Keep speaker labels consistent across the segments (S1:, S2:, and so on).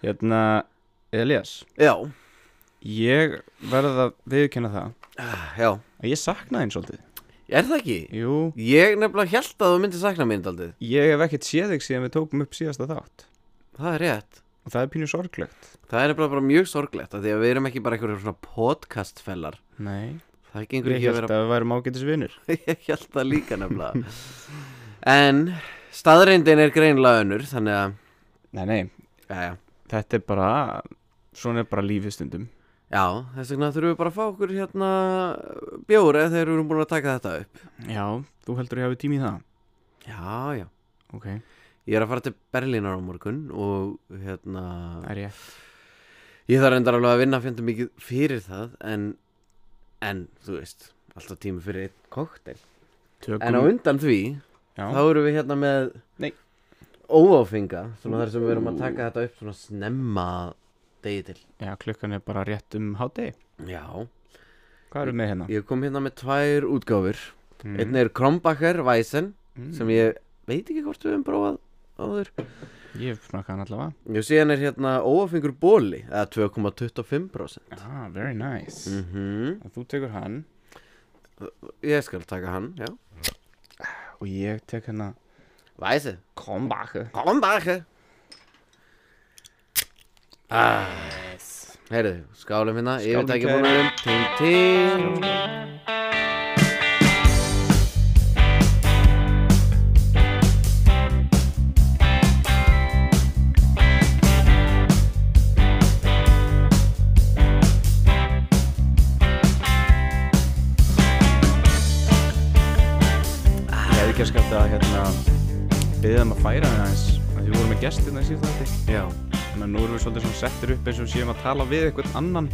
S1: Hérna, Elias
S2: Já,
S1: Ég verð að viðkynna það
S2: já
S1: að ég sakna þín svolítið
S2: Er það ekki?
S1: Jú,
S2: Ég nefnilega held að þú myndir sakna mín daldið
S1: ég hef ekkert séð þig síðan við tókum upp síðasta þátt
S2: Það er rétt
S1: og það er pínu sorglegt
S2: Það er nefnilega bara mjög sorglegt af Því að við erum ekki bara einhverjum svona podcastfellar
S1: Nei,
S2: Það gengur
S1: ég
S2: ekki að
S1: held
S2: vera
S1: að við værum ágætis vinir
S2: Ég held það líka nefnilega En staðreindin er greinlega önnur Þannig að,
S1: Nei, nei,
S2: já, já
S1: þetta er bara, svona er bara lífið stundum
S2: Já, þess vegna þurfum við bara að fá okkur hérna bjóra þegar við erum búin að taka þetta upp
S1: Já, þú heldur ég hafi tími í það
S2: Já, já
S1: Ok,
S2: Ég er að fara til Berlínar á morgun og hérna
S1: það er ég
S2: Ég þarf reyndar alveg að vinna fjöndu mikið fyrir það en, en þú veist, alltaf tími fyrir einn koktel En á
S1: Tökum,
S2: undan því, þá
S1: já,
S2: erum við hérna með
S1: Nei.
S2: óáfinga Svona þar sem við erum að taka þetta upp svona snemma degi til
S1: já, klukkan er bara rétt um hátegi
S2: Já,
S1: Hvað erum við með hérna?
S2: ég kom hérna með tvær útgáfur
S1: Mm.
S2: Einn er Krombacher Weisen
S1: Mm.
S2: sem ég veit ekki hvort við hefum prófað áður
S1: Ég hef smakað hann allavega
S2: Og síðan er hérna óáfingur bóli eða 2,25%
S1: Ah, very nice
S2: mm
S1: Og þú tekur hann
S2: Ég skal taka hann, já
S1: og ég tek hérna
S2: Weisen
S1: Krombache
S2: Krombacher ah. Heyrðu, skálum hérna
S1: Skálum,
S2: Yfirtæki búnaðum Ting, ting
S1: Ég hef ekki að skapta að hérna byggja um að færa hann aðeins af því við vorum með gest hérna í síðan þetta
S2: Já
S1: þannig að nú erum við svolítið svona settir upp eins og við séum að tala við eitthvað annan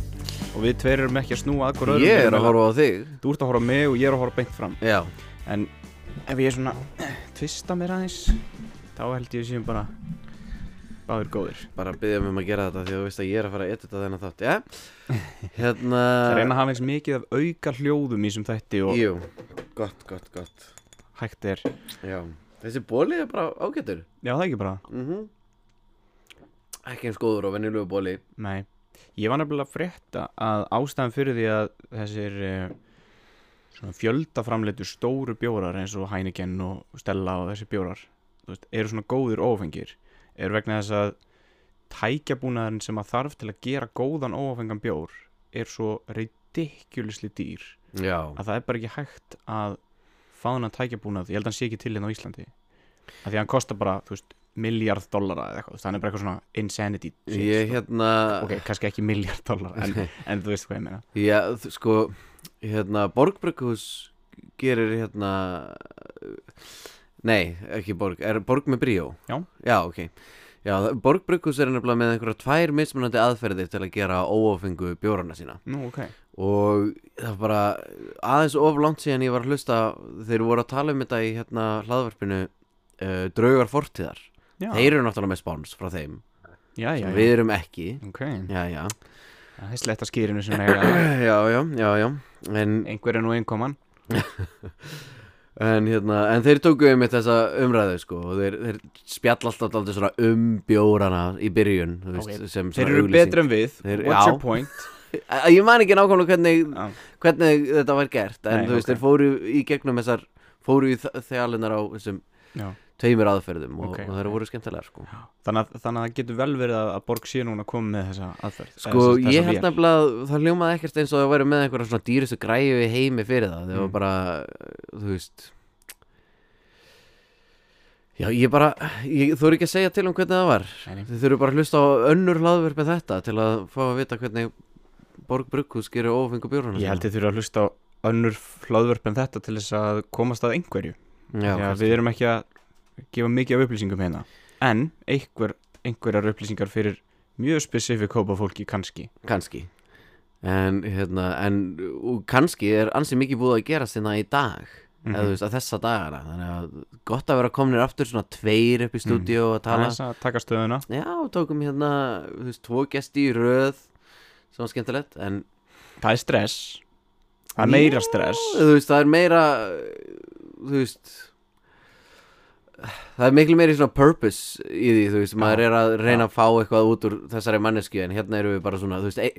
S1: og við tveir erum ekki að snúa að hver öðrum
S2: Ég
S1: Við
S2: er
S1: erum
S2: að horfa á þig
S1: Þú ert að horfa á mig og ég er að horfa beint fram
S2: Já
S1: en ef ég svona eh, tvista mér aðeins þá held ég að séum bara báður góðir
S2: Bara byrja um að gera þetta því að þú veist að ég er að fara að edita þennan þátt Já Hérna
S1: Það reyna að hafa eins mikið af auka hljóðum í þessum þætti og
S2: Jú Gott, gott, gott
S1: hægt er
S2: Já Þessi bóli er bara ágætur
S1: Já það er ekki bara
S2: mm Ekki eins góður og venjulegu bóli
S1: Nei, ég var nefnilega að frétta að ástæðan fyrir því að þessir eh, svona fjöldaframleitu stóru bjórar eins og Heineken og Stella og þessi bjórar þú veist, eru svona góðir óafengir er vegna þess að tækjabúnaðurinn sem að þarf til að gera góðan óafengan bjór er svo ridiculously dýr
S2: Já
S1: að það er bara ekki hægt að fá hann að tækjabúnað, ég held að hann sé ekki til hérna á Íslandi að því að hann kostar bara, þú veist, miljard dollara eða eitthvað, þannig bara eitthvað svona insanity shit, sko.
S2: Ég hérna
S1: ok, kannski ekki miljard dólar en, en þú veist hvað ég meina
S2: Já, þ- sko, hérna, Borgbrukhús gerir hérna, nei, ekki Borg, er Borg með bríó?
S1: Já.
S2: Já, ok. Já, Borgbrukhús er nefnilega með einhverja tvær mismunandi aðferðir til að gera óáfengu bjórana sína
S1: Nú, ok
S2: og það var bara aðeins of langt síðan ég var að hlusta þeir voru að tala um þetta í hérna hlaðvarpinu uh, Draugar Fortíðar.
S1: Já,
S2: Þeir eru náttúrulega með spáns frá þeim,
S1: já, já,
S2: sem
S1: já.
S2: við erum ekki.
S1: ok
S2: Já, já.
S1: Það er sletta skýrinu sem eiga
S2: Já, já, já, já. En
S1: einhver er nú einkoman
S2: En, hérna, en þeir tóku um þessa umræðu sko og þeir, þeir spjall alltaf alltaf svona um bjórana í byrjun þú veist,
S1: Ok,
S2: sem
S1: Þeir
S2: svona
S1: eru betri en við,
S2: Þeir-
S1: what's
S2: já.
S1: your point
S2: Æ, Ég man ekki nákvæmlega hvernig,
S1: Já.
S2: hvernig þetta var gert en
S1: Nei,
S2: þú veist
S1: ok.
S2: þeir fóru í gegnum þessar fóru í þjálunar á þessum
S1: Já.
S2: tveimur aðferðum og,
S1: Ok,
S2: og þeir
S1: ok.
S2: voru skemmtilegar sko
S1: þannig, að, þannig að það getur vel verið að að Borg sé núna að koma með þessa aðferð
S2: Sko ég held nefnilega að það ljómaði ekkert eins og það væri með einhverja svona dýrustu græju í heimi fyrir það Það var
S1: Mm.
S2: bara, þú veist Já ég bara, ég þú ekki að segja til um hvernig það var
S1: nefnilega
S2: Þið þurfum bara að hlusta á önnur hlaðverf með þetta til að fá að vita hvernig Borg Brugghús gerir ófengu bjórnum
S1: Ég held þið þurfa að hlusta á önnur hlaðvörp en þetta til þess að komast að einhverju
S2: Já,
S1: Já,
S2: kannski.
S1: við erum ekki að gefa mikið af upplýsingum hérna En einhver, einhverjar upplýsingar fyrir mjög spesifik hópa fólki kannski
S2: kannski En, hérna, en og kannski er ansið mikið búið að gera sinna í dag
S1: Mhm.
S2: eða þú veist að þessa dagana þannig að gott að vera komnir aftur svona tveir upp í
S1: Mhm.
S2: stúdíu og að tala
S1: Aðeins að taka stöðuna
S2: Já, tókum hérna, þú veist, tvo gesti í röð sem var skemmtilegt en
S1: Það er stress Það er meira stress
S2: þú veist, það er meira þú veist það er miklu meiri svona purpose í því, þú veist, maður
S1: Já,
S2: er að
S1: já.
S2: reyna að fá eitthvað út úr þessari manneski en hérna erum við bara svona, þú veist, ein,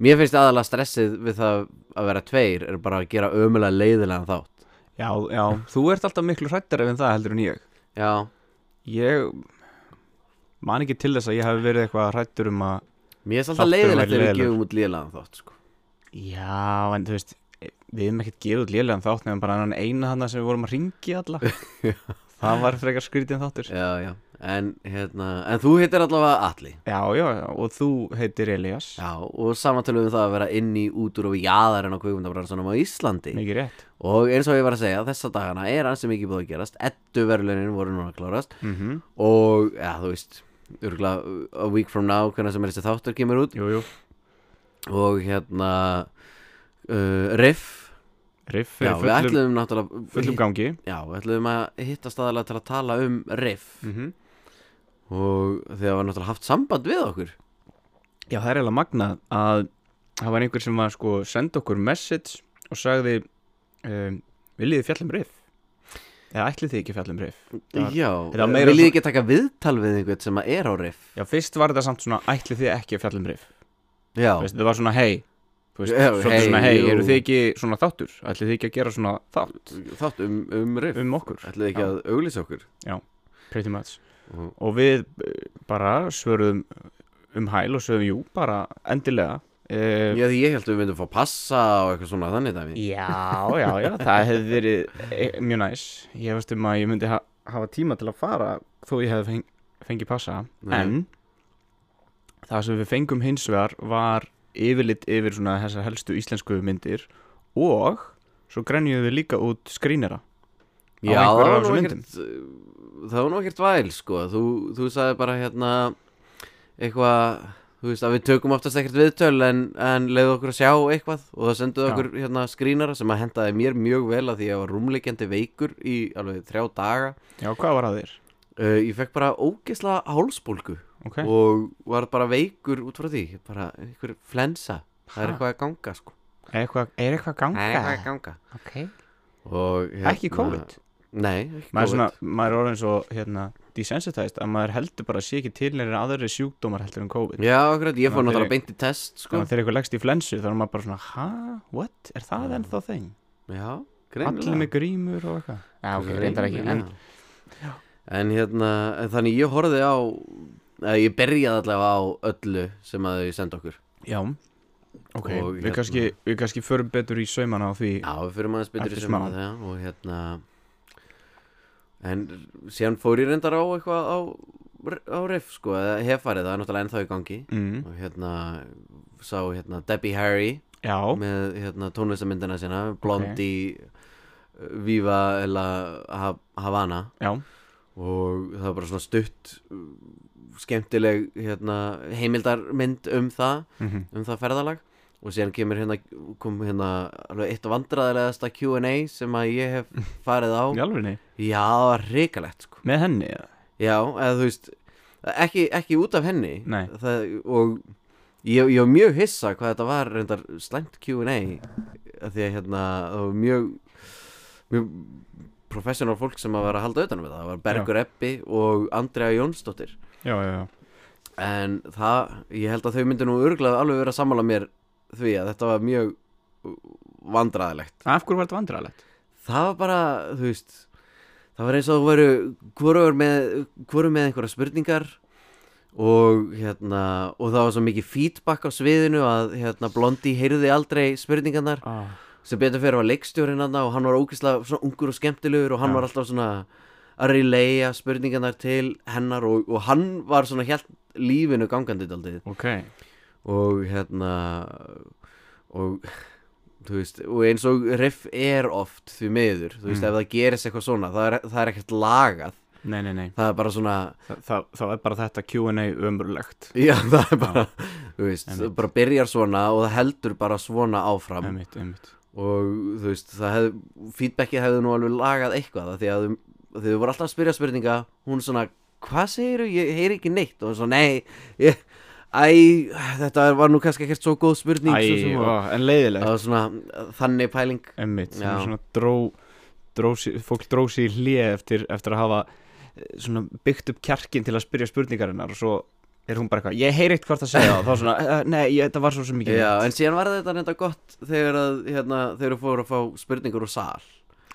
S2: mér finnst aðalega stressið við það að vera tveir er bara að gera ömulega leiðilegan þátt
S1: Já, já, þú ert alltaf miklu hrættar ef en það heldur en ég
S2: Já,
S1: Ég man ekki til þess að ég hafi verið eitthvað hrættur um að
S2: mér finnst
S1: Þátturinn
S2: alltaf
S1: væri
S2: leiðilegt ef við
S1: leiðilegur.
S2: gefum út leiðilegan þátt, sko
S1: Já, en þú veist Við hefum ekkert gefið út lélegan þátt nefnum bara annan eina hana sem við vorum að ringi alla Það var frekar skrítið þáttur Já,
S2: Já, já, en hérna, en þú heitir allavega Atli
S1: já, já, og þú heitir Elias
S2: Já, og samantöluðum það að vera inn í út úr og jáðarinn á kvikmyndabransanum á Íslandi
S1: Mikið rétt
S2: Og eins og ég var að segja, þessa dagana er ansi mikið búið að gerast Eddu veruleginin voru núna að klárast
S1: mm
S2: Og, ja, þú veist, örgulega uh, a week from now, hvernig sem er þessi þáttur kemur út
S1: Jú, jú,
S2: Og hérna, uh, Riff
S1: riff
S2: Já,
S1: er
S2: við
S1: fullum,
S2: ætluðum náttúrulega
S1: fullum gangi
S2: Já, við ætluðum að hitta staðalega til að tala um Riff
S1: mm
S2: Og þegar var náttúrulega haft samband við okkur
S1: Já, það er eiginlega magnað að það var einhver sem var sko senda okkur message og sagði um, Viljið þið fjallum riff? Eða ætlið þið ekki fjallum riff? Það var-
S2: Já,
S1: þetta var meira
S2: viljið
S1: svona-
S2: ekki taka viðtal við einhvern sem að er á Riff
S1: Já, fyrst var þetta samt svona ætlið þið ekki að fjallum riff
S2: Já,
S1: Þú veist, Það var svona hei Þú veist,
S2: Já,
S1: svolítið
S2: hey,
S1: svona hei,
S2: jú.
S1: eru þið ekki svona þáttur? Ætlið þið ekki að gera svona þátt
S2: þátt um, um Riff
S1: um okkur?
S2: Ætluðu ekki
S1: Já.
S2: að auglýsa okkur
S1: Pretty much
S2: Mhm.
S1: Og við eh, bara svöruðum um hæl og sögum jú, bara endilega uh,
S2: Já, því ég held að við myndum fá passa og eitthvað svona þannig dæmi
S1: Já, já, já, það hefði verið eh, mjög næs Ég veist um að ég myndi ha hafa tíma til að fara þó ég hefði feng fengið passa
S2: Nei.
S1: En það sem við fengum hins vegar var yfirlit yfir svona þessar helstu íslensku myndir og svo grenjuðum við líka út skrínera
S2: Já,
S1: á
S2: það
S1: einhverjar af
S2: var nú
S1: þessum myndum.
S2: ekkert eh, Það var nú ekkert væl, sko Þú, þú sagði bara hérna eitthvað, þú veist að við tökum oftast ekkert viðtöl en, en leiðu okkur að sjá eitthvað og það senduðu
S1: Já.
S2: okkur hérna skrínara sem að hendaði mér mjög vel að því ég var rúmleikjandi veikur í alveg þrjá daga
S1: Já, hvað var að þér?
S2: uh, Ég fekk bara ógeisla hálsbólgu
S1: Ok,
S2: og var bara veikur út frá því bara einhver flensa Það
S1: Ha?
S2: er eitthvað að ganga, sko
S1: er eitthvað, er eitthvað
S2: Það
S1: ganga?
S2: er eitthvað að ganga
S1: Ok
S2: Og, hérna,
S1: Ekki COVID?
S2: Nei,
S1: Maður er,
S2: ekki COVID
S1: svona, maður er orðin svo, hérna, desensitized að maður heldur bara að sé ekki til neirir aðri sjúkdómar heldur en COVID
S2: Já, akkurat, ég fór
S1: Þannig að
S2: náttúrulega
S1: þeir-
S2: beint í test sko.
S1: Þannig að þegar eitthvað leggst í flensu þá er maður bara svona Hæ? What? Er það
S2: Já.
S1: ennþá þeng?
S2: Já,
S1: Allir með grímur og eitthvað Já,
S2: en... en hérna, en þannig ég horfði á eða Ég byrjaði allavega á öllu sem að þau senda okkur
S1: Já, ok
S2: Og
S1: við,
S2: hérna-
S1: kannski, við kannski förum betur í saumana á því
S2: Já, við fyrir maður spytur
S1: Eftir
S2: í
S1: smá.
S2: sem að það Og hérna En síðan fór ég reyndar á eitthvað á, á riff sko Eða hef farið, það er náttúrulega ennþá í gangi
S1: mm.
S2: Og hérna, sá hérna Debbie Harry
S1: Já,
S2: með hérna, tónlistamindina sína Blondi, okay. Viva eða Ha- Havana
S1: já,
S2: og það var bara svona stutt uh, skemmtileg hérna, heimildarmynd um það
S1: mm
S2: um það ferðalag og síðan kemur hérna, kom hérna alveg eitt vandræðilegasta Q&A sem að ég hef farið á
S1: í alvegni
S2: Já, það var reikalegt sko
S1: Með henni, eða?
S2: Já, eða þú veist ekki, ekki út af henni
S1: Nei.
S2: það, og ég, ég var mjög hissa hvað þetta var reyndar slæmt Q&A af því að hérna það var mjög mjög professional fólk sem að vera að halda utanum þetta það var Bergur Eppi og Andrea Jónsdóttir
S1: já, já, já
S2: en það, ég held að þau myndu nú örglega alveg vera að sammála mér því að þetta var mjög vandræðilegt
S1: Af hverju var þetta vandralegt?
S2: það var bara, þú veist það var eins og þú veru hvorur með, hvoru með einhverja spurningar og hérna og það var svo mikið feedback á sviðinu að hérna Blondi heyrði aldrei spurningarnar
S1: Ah.
S2: sem betur fyrir var leikstjórinn hann og hann var ógeðslega svona ungur og skemmtilegur og hann
S1: Já.
S2: var alltaf svona að relaya spurningarnar til hennar og, og hann var svona helt lífinu gangandi daldið
S1: Ok,
S2: og hérna og þú veist, og eins og riff er oft því miður, þú veist,
S1: Mm.
S2: ef það gerist eitthvað svona, það er, það er ekkert lagað
S1: nei, nei, nei
S2: það er bara svona,
S1: Þa, það, það er bara þetta Q&A ömurlegt
S2: já, það er bara þú veist,
S1: Einmitt.
S2: það bara byrjar svona og það heldur bara svona áfram
S1: Einmitt, einmitt
S2: og þú veist, það hef feedbackið hefði nú alveg lagað eitthvað af því að þau- af því að þau voru alltaf að spyrja spurninga hún svona, hvað segiru, ég heyri ekki neitt og hún svona, nei, ég Æ, þetta var nú kannski ekkert svo góð spurning svo
S1: Æ,
S2: sem og-
S1: ó, en leiðilegt
S2: það var svona uh, þannig pæling
S1: Emmitt, sem
S2: Já.
S1: svona dró, dró sig- fólk dró sér í hlið eftir, eftir að hafa eh, svona byggt upp kjarkin til að spyrja spurningarinnar og svo er hún bara eitthvað, ég heyri eitt hvort að segja og þá svona, eh, nei, ég, þetta var svo sem mikið
S2: Já, en síðan var þetta reynda gott þegar að, hérna, þegar þú fóru að fá spurningur úr sal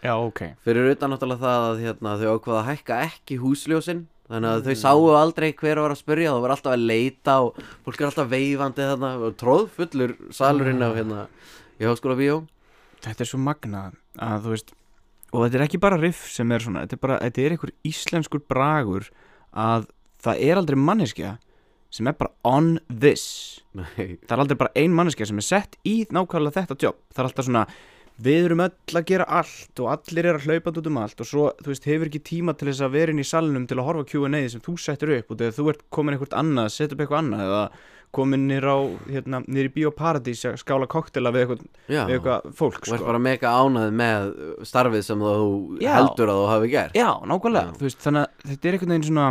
S1: já, ok
S2: Fyrir utan náttúrulega það að hérna, þau ákvaða að hækka ekki húsljósin Þannig að
S1: Mm.
S2: þau sáu aldrei hver var að spyrja Þau var alltaf að leita og fólk er alltaf veifandi þarna og Tróðfullur salurinn á hérna í háskóla bíó
S1: þetta er svo magnað að þú veist og þetta er ekki bara riff sem er svona þetta er, bara, þetta er einhver íslenskur bragur að það er aldrei manneskja sem er bara on this
S2: Nei,
S1: það er aldrei bara ein manneskja sem er sett í nákvæmlega þetta jobb það er alltaf svona við erum öll að gera allt og allir eru að hlaupa út um allt og svo þú veist hefur ekki tíma til þess að vera inn í salnum til að horfa á Q&A sem þú settir upp og þegar þú ert komin einhvert annað setja upp eitthvað annað eða komin nýr á hérna nýr í bioparadís að skála koktela við eitthvað,
S2: já
S1: við eitthvað fólk sko.
S2: Þú ert bara mega ánæð með starfið sem þú
S1: Já.
S2: heldur að þú hafi gert
S1: Já, nákvæmlega,
S2: Já.
S1: þú veist, þannig að þetta er einhvern veginn svona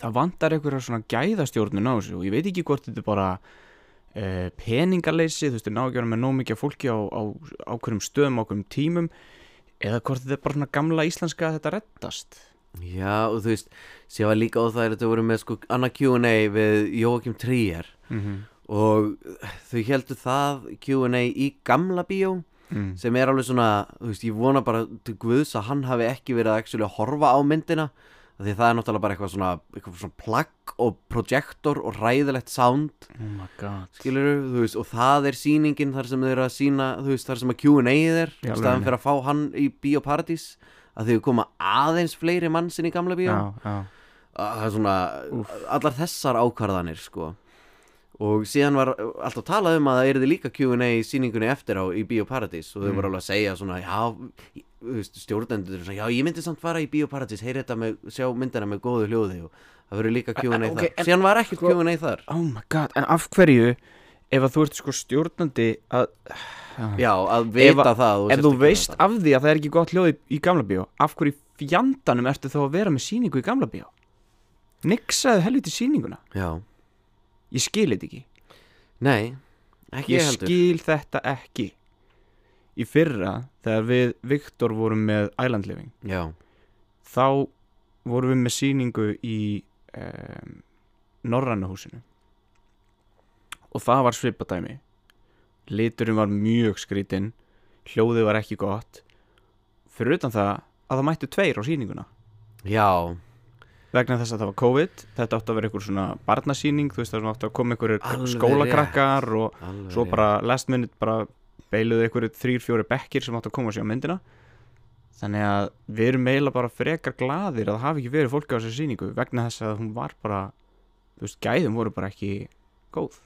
S1: það vantar einhverja svona gæðastjórnun á þessu og ég veit ekki hvort þetta er bara uh, peningaleysi, þú veist, ná ekki að vera með nóg mikið af fólki á, á, á hverjum stöðum, á hverjum tímum eða hvort þetta er bara svona gamla íslenska að þetta reddast
S2: Já, og þú veist, séu að líka á það er að þau voru með sko annað Q&A við Jóakim Tríjar
S1: mm -hmm.
S2: og þau heldur það Q&A í gamla bíó
S1: mm.
S2: sem er alveg svona, þú veist, ég vona bara til guðs að hann hafi ekki verið að actually horfa á myndina af því að það er náttúrulega bara eitthvað svona, eitthvað svona plagg og projektor og ræðilegt sound
S1: Oh my god
S2: skilur þú veist, og það er sýningin þar sem þau eru að sína, þú veist, þar sem að Q&A-ið er,
S1: Í
S2: í
S1: alvörunni.
S2: staðan fyrir að fá hann í Bíóparadís að þau koma aðeins fleiri mannsinn í gamla bíó
S1: Já, já,
S2: að það er svona allar þessar ákvarðanir sko og síðan var alltaf talað um að það erði líka Q&A í síningunni eftir á í
S1: Mm.
S2: Bíóparadís og þau voru alveg að segja svona já, þú veist, stjórnendur eru svona, já, ég myndi samt fara í Bíóparadís, heyri þetta með, sjá myndina með góðu hljóði og það verður líka Q&A
S1: ok, en-
S2: þar síðan var ekkert Q&A þar
S1: oh my god, en af hverju ef að þú ert sko stjórnandi að
S2: já, að vita
S1: að-
S2: það og
S1: ef þú
S2: sérstaklega
S1: veist
S2: það.
S1: af því að það er ekki gott hljóð í, í gamla bíó af hverju í fjandanum ertu þá að vera með sýningu í gamla bíó Nixaðu helviti sýninguna
S2: já,
S1: Ég skil þetta ekki
S2: nei, ekki
S1: Ég
S2: ég heldur
S1: skil þetta ekki Í fyrra þegar við Viktor vorum með Island Living
S2: já,
S1: þá vorum við með sýningu í um, Norranna húsinu og það var svipadæmi liturinn var mjög skrítinn hljóðið var ekki gott fyrir utan það að það mættu tveir á sýninguna
S2: já,
S1: vegna þess að það var COVID þetta átti að vera einhver svona barnasýning þú veist það átti að koma einhverjir
S2: Alveg
S1: skólakrakkar og
S2: alveg
S1: svo
S2: rétt.
S1: bara last minute bara beiluðu einhverju þrýr, fjóri bekkir sem átti að koma sér á myndina þannig að við erum eiginlega bara frekar gladir að það hafi ekki verið fólki á þessu sýningu vegna þess að hún var bara þú veist, gæðum voru bara ekki góð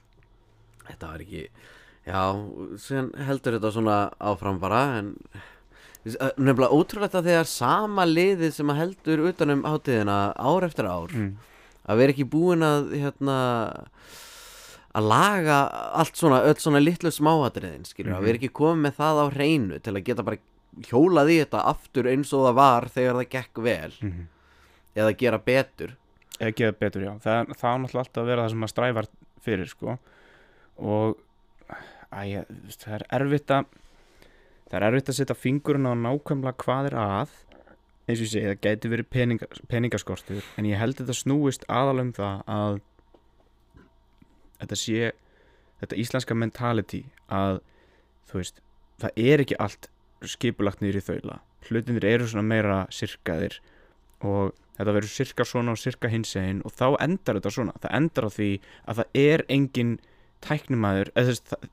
S2: Þetta var ekki Já, síðan heldur þetta svona áfram bara en Eh, nefnilega ótrúlegt að þegar sama liðið sem að heldur utanum hátíðina ár eftir ár
S1: Mm.
S2: að vera ekki búin að hérna að laga allt svona, öll svona litlu smáatriðin skilur,
S1: Mhm.
S2: að vera ekki komið með það á hreinu til að geta bara hjólað í þetta aftur eins og það var þegar það gekk vel
S1: Mhm.
S2: eða gera betur
S1: eða geða betur, já það, það er náttúrulega alltaf að vera það sem maður stræfar fyrir sko og æ, ég- þú veist, það er erfitt að það er erfitt að setja fingurinn á nákvæmlega hvað er að eins og ég segi, það gæti verið peninga, peningaskortur en ég held þetta snúist aðalum það að þetta sé þetta íslenska mentality að þú veist, það er ekki allt skipulagt niður í þaula hlutinir eru svona meira sirkaðir og þetta verður sirka svona og sirka hinsegin og þá endar þetta svona það endar á því að það er engin tæknimaður eða þess, það,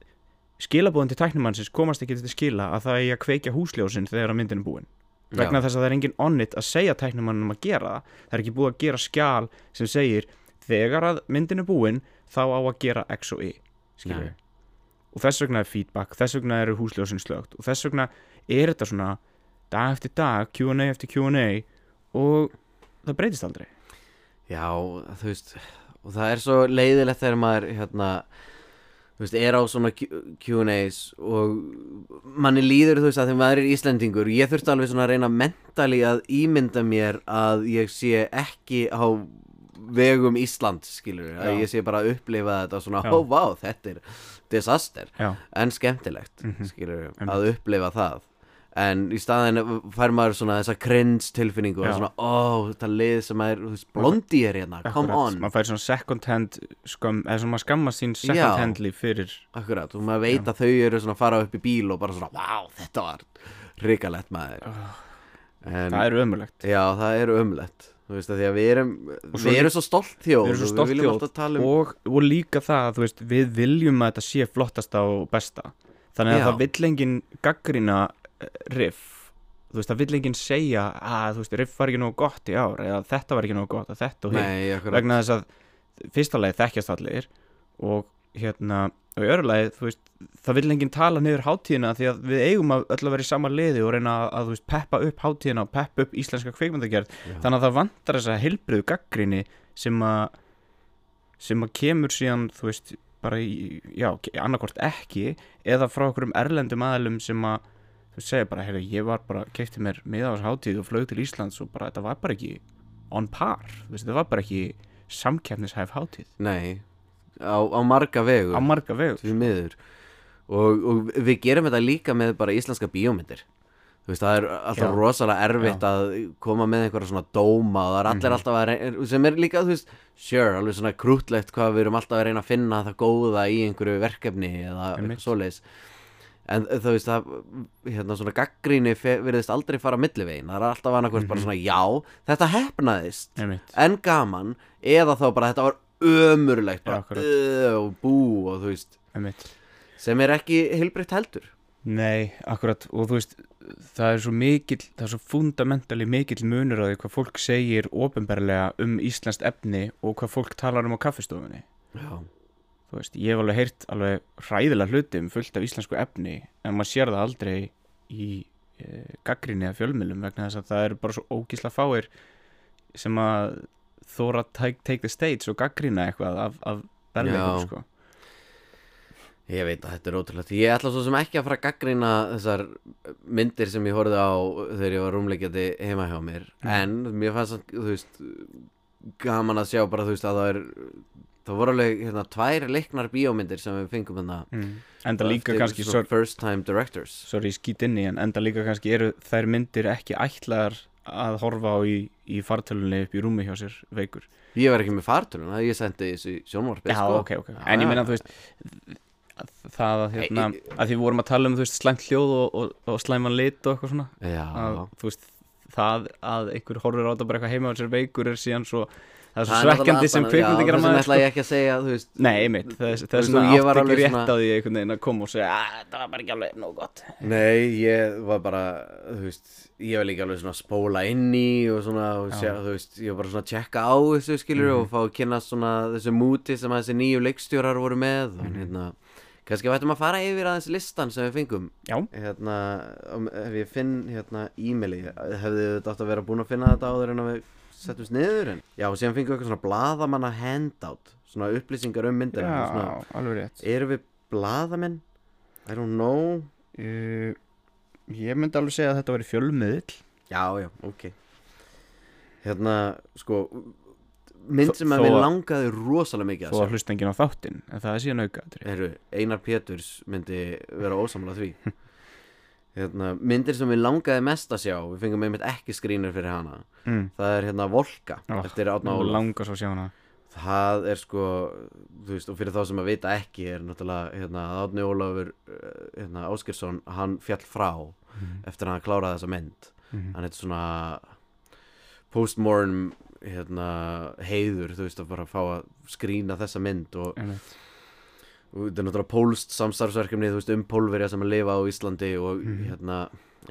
S1: skilabóðin til tæknimannsins komast ekki til skila að það er að kveikja húsljósin þegar að myndin er búin vegna
S2: Já.
S1: þess að það er engin onnit að segja tæknimannum að gera það það er ekki búið að gera skjal sem segir þegar að myndin er búin þá á að gera X og Y skilur
S2: Nei.
S1: við. og þess vegna er feedback þess vegna eru húsljósin slögt og þess vegna er þetta svona dag eftir dag, Q&A eftir Q&A og það breytist aldrei
S2: Já, þú veist og það er svo leiðilegt þegar maður hérna, þú veist, er á svona Q- Q&As og manni líður þú veist að þegar maður er Íslendingur ég þurfti alveg svona að reyna mentali að ímynda mér að ég sé ekki á vegum Ísland skilur,
S1: Já.
S2: að ég sé bara að upplifa þetta svona,
S1: Já.
S2: ó vá, þetta er disaster
S1: Já,
S2: en skemmtilegt
S1: Mhm.
S2: skilur,
S1: Einmitt.
S2: að upplifa það en í staðin fær maður svona þessa cringe tilfinningu
S1: Já.
S2: svona, ó, þetta lið sem er, þú veist, blondi er hérna, come
S1: Akkurat,
S2: on
S1: maður fær svona second hand skömm, eða svona maður skammar sín second
S2: Já.
S1: hand líf fyrir
S2: akkurat, og maður veit að þau eru svona að fara upp í bíl og bara svona, vá, þetta var ríkalett maður en,
S1: Ah. það er ömulegt
S2: já, það er umlegt þú veist, að því að við erum
S1: svo-
S2: við erum svo stolt
S1: Við
S2: þjóð
S1: erum svo
S2: og
S1: stolt
S2: við viljum
S1: þjóð
S2: alltaf tala um
S1: og, og líka það að þú veist, við viljum að þetta sé flottasta og besta þannig að
S2: Já.
S1: það vill enginn gaggrina riff þú veist, það vill enginn segja að þú veist, riff var ekki nógu gott í ár eða þetta var ekki nógu gott að þetta og hitt
S2: nei, akkurat,
S1: vegna þess að fyrsta lagi þekkjast allir og hérna og í öðru lagi, þú veist, það vill enginn tala niður hátíðina því að við eigum að öll að vera í sama liði og reyna að, þú veist, peppa upp hátíðina og peppa upp íslenska kveikmyndagerð
S2: Já.
S1: þannig að það vantar þessa heilbriðu gaggrinni sem að sem að kemur síðan, þú veist bara í, já, annarkvort ekki eða frá okkurum erlendum aðalum sem að þú segir bara, heyrðu, ég var bara kefti mér miðavars hátíð og flög til Íslands og bara, þetta var bara ekki on par, þú veist, þetta var bara ekki samkeppnishæf hátíð
S2: nei á, á marga vegu
S1: á marga vegur
S2: því miður og, og við gerum þetta líka með bara íslenska bíómyndir þú veist það er alltaf
S1: Já. Mhm.
S2: rosalega erfitt að koma með einhverja svona dóma og það er allir alltaf að reyna sem er líka þú veist sure alveg svona krútlegt hvað við erum alltaf að reyna að finna það góða í einhverju verkefni eða
S1: Einmitt.
S2: eitthvað svoleiðis en eh, þú veist það hérna svona gaggríni fe- virðist aldrei fara millivegin það er alltaf annarkvæmst
S1: Mhm.
S2: bara svona já þetta hefnaðist
S1: Einmitt.
S2: en gaman eða þá bara þetta var ömurlegt
S1: Já,
S2: bara
S1: akkurat.
S2: "Ugh", og bú og þú veist
S1: Einmitt.
S2: sem er ekki heilbreytt heldur
S1: Nei, akkurat og þú veist, það er svo mikill það er svo fundamentali mikill munur á því hvað fólk segir ofinberlega um íslenskt efni og hvað fólk talar um á kaffistofunni
S2: já,
S1: þú veist, ég hef alveg heyrt alveg hræðilega hluti um fullt af íslensku efni en maður sér það aldrei í e, gaggrinni eða fjölmilum vegna þess að það eru bara svo ógísla fáir sem að þóra take, take the stage og gaggrina eitthvað af, af verðleikum
S2: Já.
S1: sko.
S2: ég veit að þetta er ótrúlegt ég ætla svo sem ekki að fara að gaggrina þessar myndir sem ég horfði á þegar ég var rúmleikjandi heima hjá mér
S1: Mm.
S2: en mér fannst samt, þú veist gaman að sjá bara þú veist að það er það voru alveg hérna tvær leiknar bíómyndir sem við fengum hérna
S1: mm. enda líka
S2: Eftir
S1: kannski
S2: svona
S1: svo,
S2: first time directors
S1: sorry, skýt inn í en enda líka kannski eru þær myndir ekki ætlaðar að horfa á í, í fartölunni upp í rúmi hjá sér veikur
S2: ég var ekki með fartölun ég sendi þessu í sjónvarpið
S1: Já,
S2: sko.
S1: ok, ok, en ég meina þú veist að það að hérna að því við vorum að tala um þú veist slæmt hljóð og, og, og slæman lit og eitthvað svona
S2: já,
S1: að, þú veist það að einhver horfir á þetta bara eitthvað heima á sér veikur er síðan svo það er svo
S2: Það er náttúrulega
S1: svekkjandi sem
S2: bara- já,
S1: kvikmyndigra
S2: þess vegna
S1: maður sko.
S2: ætla ég ekki að segja þú veist
S1: Nei, einmitt, þess,
S2: Þú
S1: þess
S2: veist,
S1: vegna
S2: og ég var
S1: átti ekki
S2: alveg
S1: rétt
S2: svona-
S1: á því einhvern veginn að koma og segja að það var bara ekki alveg nóg gott
S2: Nei, ég var bara, þú veist, ég var líka alveg svona að spóla inn í og svona, og sjá, þú veist, ég var bara svona að tjekka á þessu skilur og fá að kynna svona þessu múti sem að þessi nýju leikstjórar voru með og hérna, kannski vætum að fara yfir aðeins listan sem við fengum,
S1: Já,
S2: hérna, um, ef ég finn, hérna, e-maili, hefði þetta átt að vera búin að finna þetta áður en að við settumst niður en, já, og síðan fengum við eitthvað svona bladamanna handout, svona upplýsingar um myndir, svona,
S1: alveg rétt
S2: erum við bladamenn? I don't know.
S1: uh, Ég myndi alveg segja að þetta væri fjölmiðl
S2: Já, já, ok Hérna, sko Mynd sem að
S1: Þó-
S2: mér
S1: þó að-
S2: langaði rosalega mikið
S1: Þó að
S2: að sjá
S1: hlusta enginn á þáttinn, en það er síðan aukaðri
S2: Heru, Einar Péturs myndi vera ósamlega því Hérna, myndir sem mér langaði mest að sjá Við fengum einmitt ekki skrínur fyrir hana
S1: mm.
S2: Það er hérna Volka
S1: Ah,
S2: Eftir Átna
S1: Nú
S2: Óla
S1: langar svo að sjá hana
S2: Það er sko, þú veist, og fyrir þá sem að vita ekki er náttúrulega, hérna, að Átni Ólafur, eh, hérna, Áskirsson, hann fjall frá eftir að hann kláraði þessa mynd.
S1: Mhm.
S2: Hann er svona postmortem, hérna, heiður, þú veist, að bara fá að skrína þessa mynd og,
S1: Einmitt.
S2: og þetta er náttúrulega pólst samstarfsverkefni, þú veist, um pólverja sem að lifa á Íslandi og, hérna,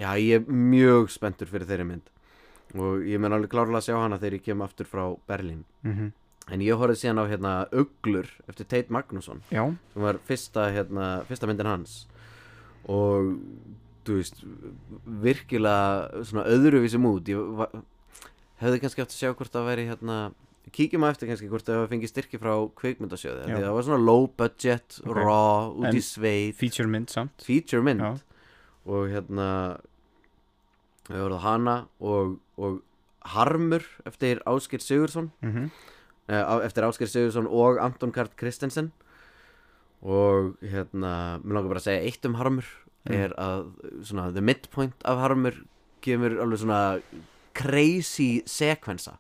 S2: já, ég er mjög spenntur fyrir þeirri mynd og ég menn alveg klárlega að sjá hana þegar ég kem aftur frá Berlín.
S1: Mhm.
S2: En ég horfði síðan á hérna Uglur eftir Tate Magnusson
S1: Já,
S2: sem var fyrsta, hérna, fyrsta myndin hans og þú veist virkilega svona öðruvísi mút ég var, hefði kannski átt að sjá hvort það væri hérna kíkjum á eftir kannski hvort það fengi styrki frá kveikmyndasjöði af því
S1: Já.
S2: það var svona low budget,
S1: Ok.
S2: raw, út
S1: En
S2: í sveit
S1: feature mynd samt
S2: feature mynd
S1: Já.
S2: og hérna við voruð hana og, og Harmur eftir Áskir Sigurðsson
S1: mm
S2: Eh, á- eftir Ásker Sigurðsson og Anton Karl Kristensen og hérna, mér langar bara að segja eitt um Harmur
S1: Mm.
S2: er að svona, the midpoint af harmur gefur alveg svona crazy sekvensa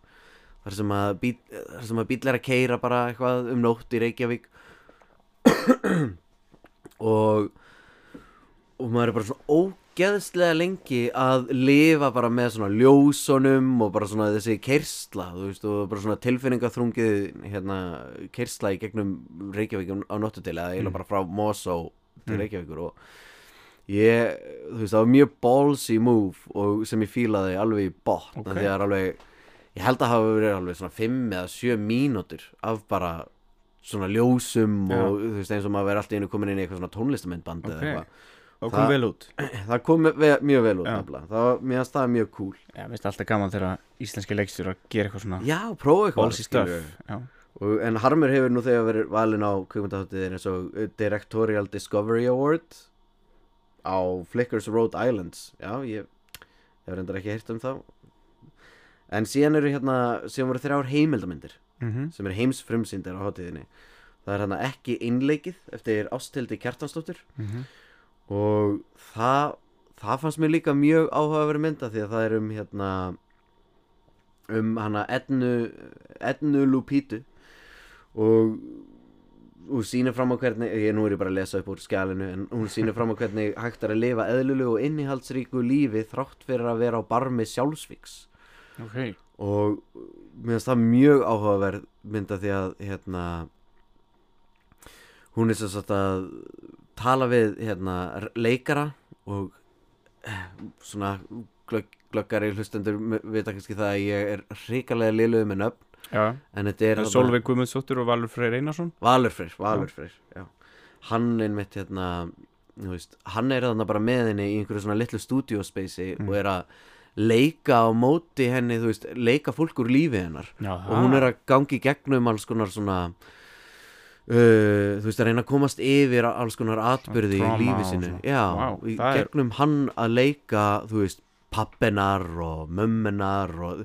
S2: þar sem að, bíl, þar sem að bíll er að keira bara eitthvað um nótt í Reykjavík og og maður er bara svona ógeðslega lengi að lifa bara með svona ljósunum og bara svona þessi keirsla þú veist og bara svona tilfinningaþrungið hérna keirsla í gegnum Reykjavík á nóttutili eða eiginlega
S1: Mm.
S2: bara frá Mosó til
S1: Mm.
S2: Reykjavíkur og ég, þú veist, það var mjög ballsy move og sem ég fílaði alveg í botn
S1: Ok.
S2: okay. því að það er alveg ég held að hafa verið alveg svona 5 eða 7 mínútur af bara svona ljósum
S1: Já.
S2: og þú veist eins og maður verið alltaf einu komin inn í eitthvað svona tónlistamindband
S1: Ok.
S2: eða eitthvað
S1: og kom
S2: Það-
S1: vel út
S2: það kom ve mjög vel út
S1: Já.
S2: nefnilega það var, mér finnst það mjög cool
S1: Já, veist alltaf gaman þegar íslenski leikstjóra gera eitthvað svona
S2: já, prófa eitthvað
S1: ballsy stuff
S2: skilurðu.
S1: Já,
S2: og, en Harmur hefur nú þegar verið valin á kvikmyndaháttiðin eins og uh, Directorial Discovery Award á Flickers Rhode Islands já, ég hefur reyndar ekki heyrt um þá en síðan eru hérna síðan voru þrjár heimildamindir
S1: Mhm.
S2: sem eru heimsfrumsýndar á hátíðinni það er hérna ekki innleikið eftir Ástildi Kjartansdóttir
S1: Mhm.
S2: og það það fannst mér líka mjög áhugaverð mynda því að það er um hérna um hana Ednu Ednu Lupítu og og sýnir fram á hvernig, ég nú er ég bara að lesa upp úr skjælinu en hún sýnir fram á hvernig hægt er að lifa eðlulegu og innihaldsríku lífi þrátt fyrir að vera á barmi sjálfsvíks
S1: ok
S2: og mér finnst það mjög áhugaverð mynda því að hérna hún er sem sagt að tala við hérna r- leikara og eh, svona glögg, glöggari hlustendur m- vita kannski það að ég er hrikalega liluð með nöfn
S1: Já,
S2: en þetta er
S1: það er Solveig Guðmundsdóttir og Valur Freyr Einarsson
S2: Valurfreyr, Valurfreyr, já. Hann einmitt hérna, þú veist, hann er þarna bara með henni í einhverju svona litlu stúdíospeysi og er að leika á móti henni, þú veist, leika fólk úr lífi hennar
S1: Já,
S2: og hún er að gangi gegnum alls konar svona Uh, þú veist að reyna að komast yfir alls konar atbyrði í
S1: trauma
S2: lífi
S1: og
S2: sínu
S1: svona.
S2: já,
S1: Vá,
S2: í
S1: það er-
S2: gegnum hann að leika þú veist, pappenar og mömmenar og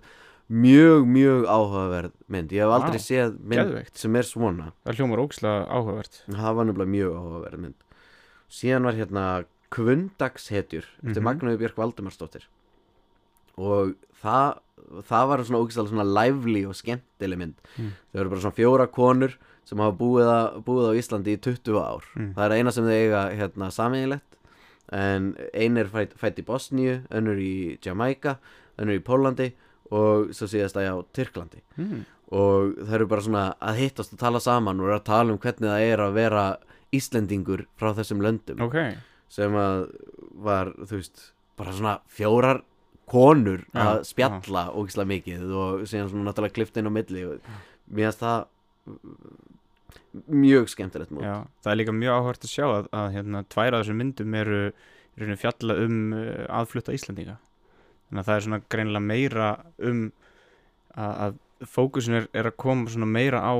S2: mjög, mjög áhugaverð mynd ég hef aldrei
S1: Vá,
S2: séð mynd
S1: geðveikt.
S2: sem er svona
S1: Það hljómar ógislega áhugavert
S2: það var nefnilega mjög áhugaverð mynd síðan var hérna Kvundagshetjur eftir
S1: Mhm.
S2: Magnúi Björk Valdimarsdóttir og það það var svona ógæslega svona lively og skemmtileg mynd
S1: Mm.
S2: þau eru bara svona fjóra konur sem hafa búið, að, búið á Íslandi í 20 ár
S1: Mm.
S2: það er eina sem þau eiga hérna sameiginlegt en ein er fætt, fætt í Bosníu önnur í Jamaica önnur í Pólandi og svo síðast að á Tyrklandi
S1: mm.
S2: og það eru bara svona að hittast og tala saman og eru að tala um hvernig það er að vera Íslendingur frá þessum löndum
S1: Ok,
S2: sem að var, þú veist, bara svona fjórar konur
S1: Já,
S2: að spjalla ógislega mikið og síðan svona náttúrulega klift inn á milli og mér finnst það uh, mjög skemmtilegt múl.
S1: já, það er líka mjög áhugavert að sjá að, að hérna, tværa þessum myndum eru í rauninni fjalla um uh, aðflutta Íslandinga þannig að það er svona greinilega meira um að, að fókusin er, er að koma svona meira á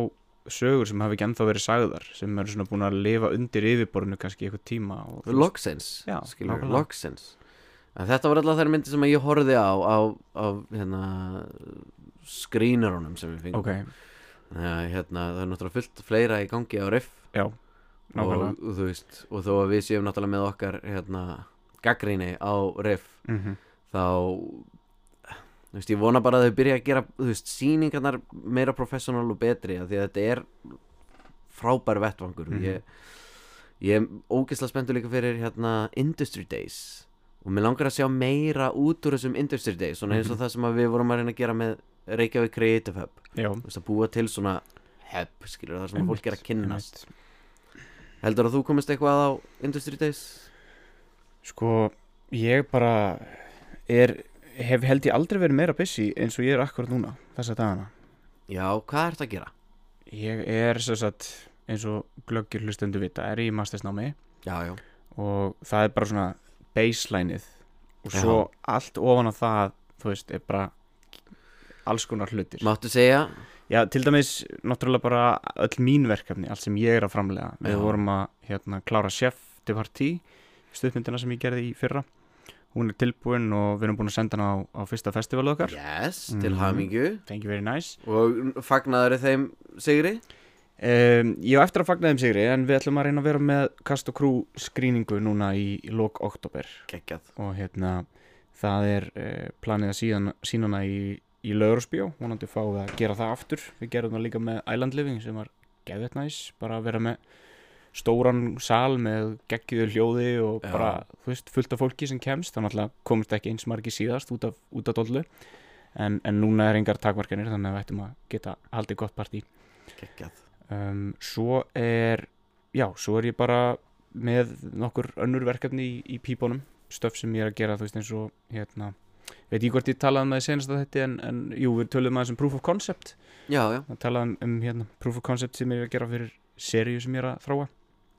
S1: sögur sem hafi ekki ennþá verið sagðar sem eru svona búin að lifa undir yfirborinu kannski í eitthvað tíma og,
S2: Logsens,
S1: Já,
S2: skilur,
S1: nákvæmlega.
S2: Logsens En þetta var alltaf þær myndir sem að ég horfði á á, á hérna skrýnarunum sem við fengum
S1: ok,
S2: Já, hérna, það er náttúrulega fullt fleira í gangi á riff
S1: já,
S2: og,
S1: nákvæmlega
S2: og þú veist, og þó að við séum náttúrulega með okkar hérna, gaggríni á riff
S1: mm -hmm.
S2: þá þú veist, ég vona bara að þau byrja að gera þú veist, sýningarnar meira professional og betri af því að þetta er frábær vettvangur
S1: Mhm.
S2: ég, ég er ógeðslega spenntur líka fyrir hérna Industry Days og mér langar að sjá meira út úr þessum Industry Days, svona eins og
S1: Mhm.
S2: það sem að við vorum að reyna að gera með Reykjavík Creative Hub
S1: já,
S2: þú veist að búa til svona hebb, skilur það sem
S1: einmitt,
S2: fólk er að
S1: einmitt.
S2: kynnast heldur að þú komist eitthvað á Industry Days?
S1: Sko, ég bara er, hef held ég aldrei verið meira busy eins og ég er akkurat núna, þessa dagana.
S2: Já, hvað ert að gera?
S1: Ég er sem sagt, eins og glöggir hlustendu vita, er í mastersnámi
S2: Já, já,
S1: og það er bara svona baselineið og svo allt ofan á það, þú veist, er bara alls konar hlutir.
S2: máttu segja
S1: Já, til dæmis náttúrulega bara öll mín verkefni, allt sem ég er að framlega. Við
S2: Já.
S1: vorum að hérna, klára chef til partí, stuðmyndina sem ég gerði í fyrra. Hún er tilbúin og við erum búin að senda hana á, á fyrsta festivalu okkar.
S2: yes, til
S1: Mhm.
S2: hamingju
S1: Thank you very nice.
S2: og fagnaður þeim Sigri?
S1: um, Ég á eftir að fagna þeim sigri en við ætlum að reyna að vera með Cast og Crew skrýningu núna í, í lok oktober
S2: geggjað
S1: og hérna það er uh, planið að síðan, sínana í, í Lörusbjó vonandi fá við að gera það aftur við gerum það líka með Island Living sem var geðvett næs bara að vera með stóran sal með geggiðu hljóði og
S2: Já.
S1: bara þú veist, fullt af fólki sem kemst þannig að komist ekki eins margi síðast út af, út af dollu en, en núna er engar takmarkanir þannig að við ættum að geta haldið gott partí
S2: geggjað
S1: um, svo er já, svo er ég bara með nokkur önnur verkefni í, í pípunum stöf sem ég er að gera, þú veist eins og hérna, veit ég hvort ég talaði um það í senasta þetta en, en jú, við töluðum aðeins um proof of concept
S2: já, já
S1: það talaði um, um hérna, proof of concept sem ég er að gera fyrir seríu sem ég er að þróa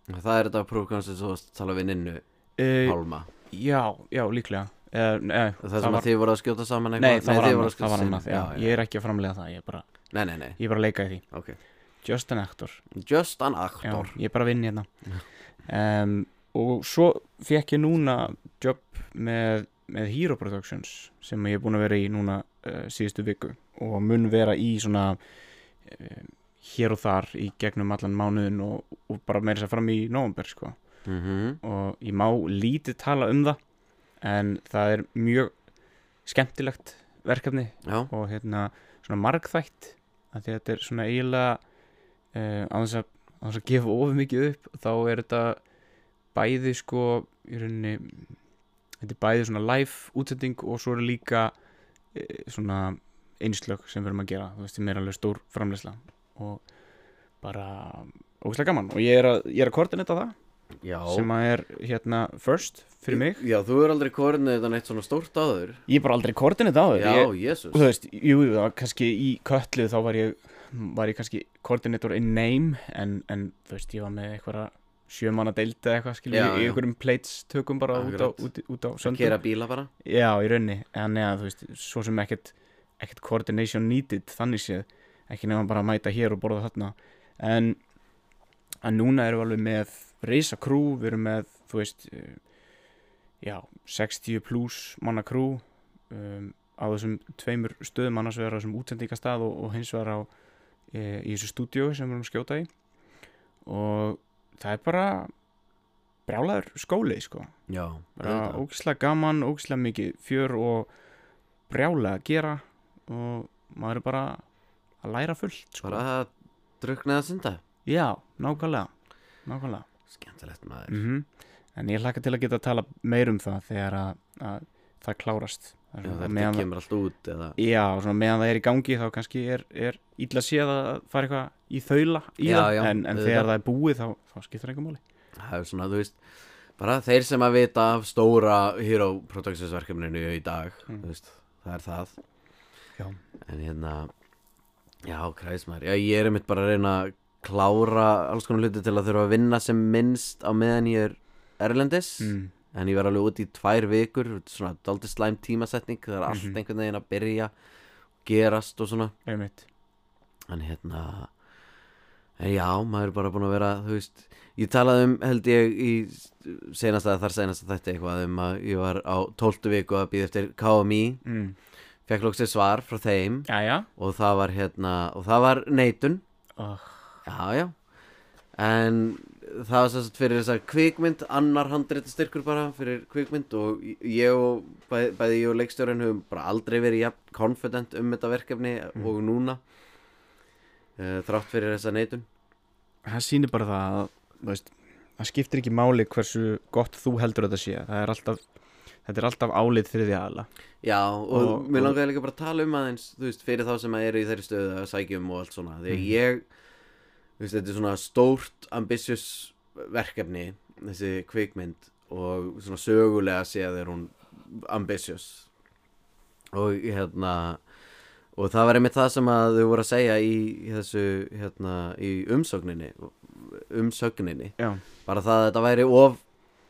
S2: það er þetta prófkann sem þú varst að tala við ninnu
S1: uh,
S2: Pálma
S1: já, já, líklega uh, nei,
S2: það, sem að þið voru að skjóta saman
S1: nei, það var
S2: þið
S1: annað,
S2: voru að
S1: það
S2: skjóta
S1: var
S2: saman.
S1: annað já,
S2: já,
S1: ég er ekki að framlega það, ég er bara,
S2: já. nei, nei, nei
S1: ég er bara að leika í því
S2: ok
S1: Just an actor
S2: just an
S1: Já,
S2: actor
S1: ég er bara að vinna hérna um, og svo fekk ég núna jobb með, með Hero Productions sem ég er búin að vera í núna uh, síðustu viku og mun vera í svona uh, hér og þar í gegnum allan mánuðin og, og bara meira sér fram í november sko
S2: mm -hmm.
S1: og ég má lítið tala um það en það er mjög skemmtilegt verkefni
S2: já,
S1: og hérna svona margþætt að því að þetta er svona eiginlega uh, á þess að, á þess að gefa ofur mikið upp þá er þetta bæði sko í rauninni þetta er bæði svona live útsending og svo eru líka uh, svona einslög sem við erum að gera þú veist, sem er alveg stór framleysla og bara ógæslega gaman og ég er að, ég er að koordinita það
S2: já
S1: sem að er hérna first fyrir mig
S2: já, þú er aldrei kornið þetta neitt svona stórt áður
S1: ég er bara aldrei koordinita á
S2: já,
S1: ég,
S2: jésus
S1: þú veist, jú, jú, það var kannski í köllu þá var ég, var ég kannski koordinator in name en, en þú veist, ég var með einhverja sjömanna deildi eða eitthvað, skilur,
S2: Já,
S1: ég, í
S2: já.
S1: einhverjum plates tökum bara út á,
S2: Akkurat.
S1: út, út á
S2: að
S1: söndum.
S2: kera bíla bara
S1: Já, í raunni, en neða, þú veist, svo sem ekkert, ekkert coordination needed, þannig séð, ekki nefnum bara að mæta hér og borða þarna, en að núna erum við alveg með reysa krú, við erum með, þú veist, eh, já, 60 pluss manna krú um, á þessum tveimur stöðum annars vegar á þessum útsendingastað og, og hins vegar á e, í þessu stúdíu sem við erum að skjóta í og það er bara brjálaður skóli sko
S2: já,
S1: bara ógislega gaman, ógislega mikið fjör og brjálega að gera og maður er bara að læra fullt sko.
S2: bara að drukna að synda
S1: já, nákvæmlega nákvæmlega
S2: skemmtilegt maður
S1: mm en ég hlakka til að geta að tala meir um það þegar að, að það klárast Það er
S2: já,
S1: svona-
S2: þetta
S1: meðan það-
S2: kemur allt út eða
S1: Já, svona meðan það er í gangi þá kannski er, er illa séð að fara eitthvað í þaula í
S2: Já,
S1: það,
S2: já,
S1: en, en
S2: auðvitað.
S1: þegar það er búið þá, þá skiptir eitthvað máli.
S2: það er svona, þú veist bara þeir sem að vita af stóra Hero Productions verkefninu í dag
S1: Mm.
S2: þú veist, það er það
S1: Já.
S2: en hérna já, kræsmar, já, ég er einmitt bara að reyna að klára alls konar hluti til að þurfa að vinna sem minnst á meðan ég er erlendis
S1: Mm.
S2: en ég var alveg út í tvær vikur svona daldi slæm tímasetning það er allt
S1: Mhm.
S2: einhvern veginn að byrja gerast og svona
S1: Einmitt.
S2: en hérna en já, maður er bara búin að vera þú veist, ég talaði um held ég í senast að þar senast að þetta eitthvað um að ég var á 12. viku að býða eftir KMI,
S1: Mm.
S2: fekk lóksir svar frá þeim
S1: Jæja.
S2: og það var hérna og það var neitun, Ah.
S1: Oh.
S2: já já en það var sérst fyrir þess að kvikmynd annar handreita styrkur bara fyrir kvikmynd og ég og bæ, bæði ég og leikstjórin höfum bara aldrei verið jafn confident um þetta verkefni og núna uh, þrátt fyrir þessa neitun
S1: Það sýnir bara það að, þú veist, það skiptir ekki máli hversu gott þú heldur þetta sé. Það er alltaf, þetta er alltaf álið þriðja aðla.
S2: Já, og,
S1: Og-
S2: mér
S1: og-
S2: langaði líka bara að tala um aðeins, þú veist, fyrir þá sem að eru í þeirri stöðu að sækjum og allt svona, því að
S1: Mhm.
S2: ég, þú veist, þetta er svona stórt, ambitious verkefni, þessi kvikmynd og svona sögulega séð er hún ambitious og hérna, og það var einmitt það sem að þau voru að segja í þessu, hérna, í umsögninni, umsögninni,
S1: Já.
S2: bara það að þetta væri of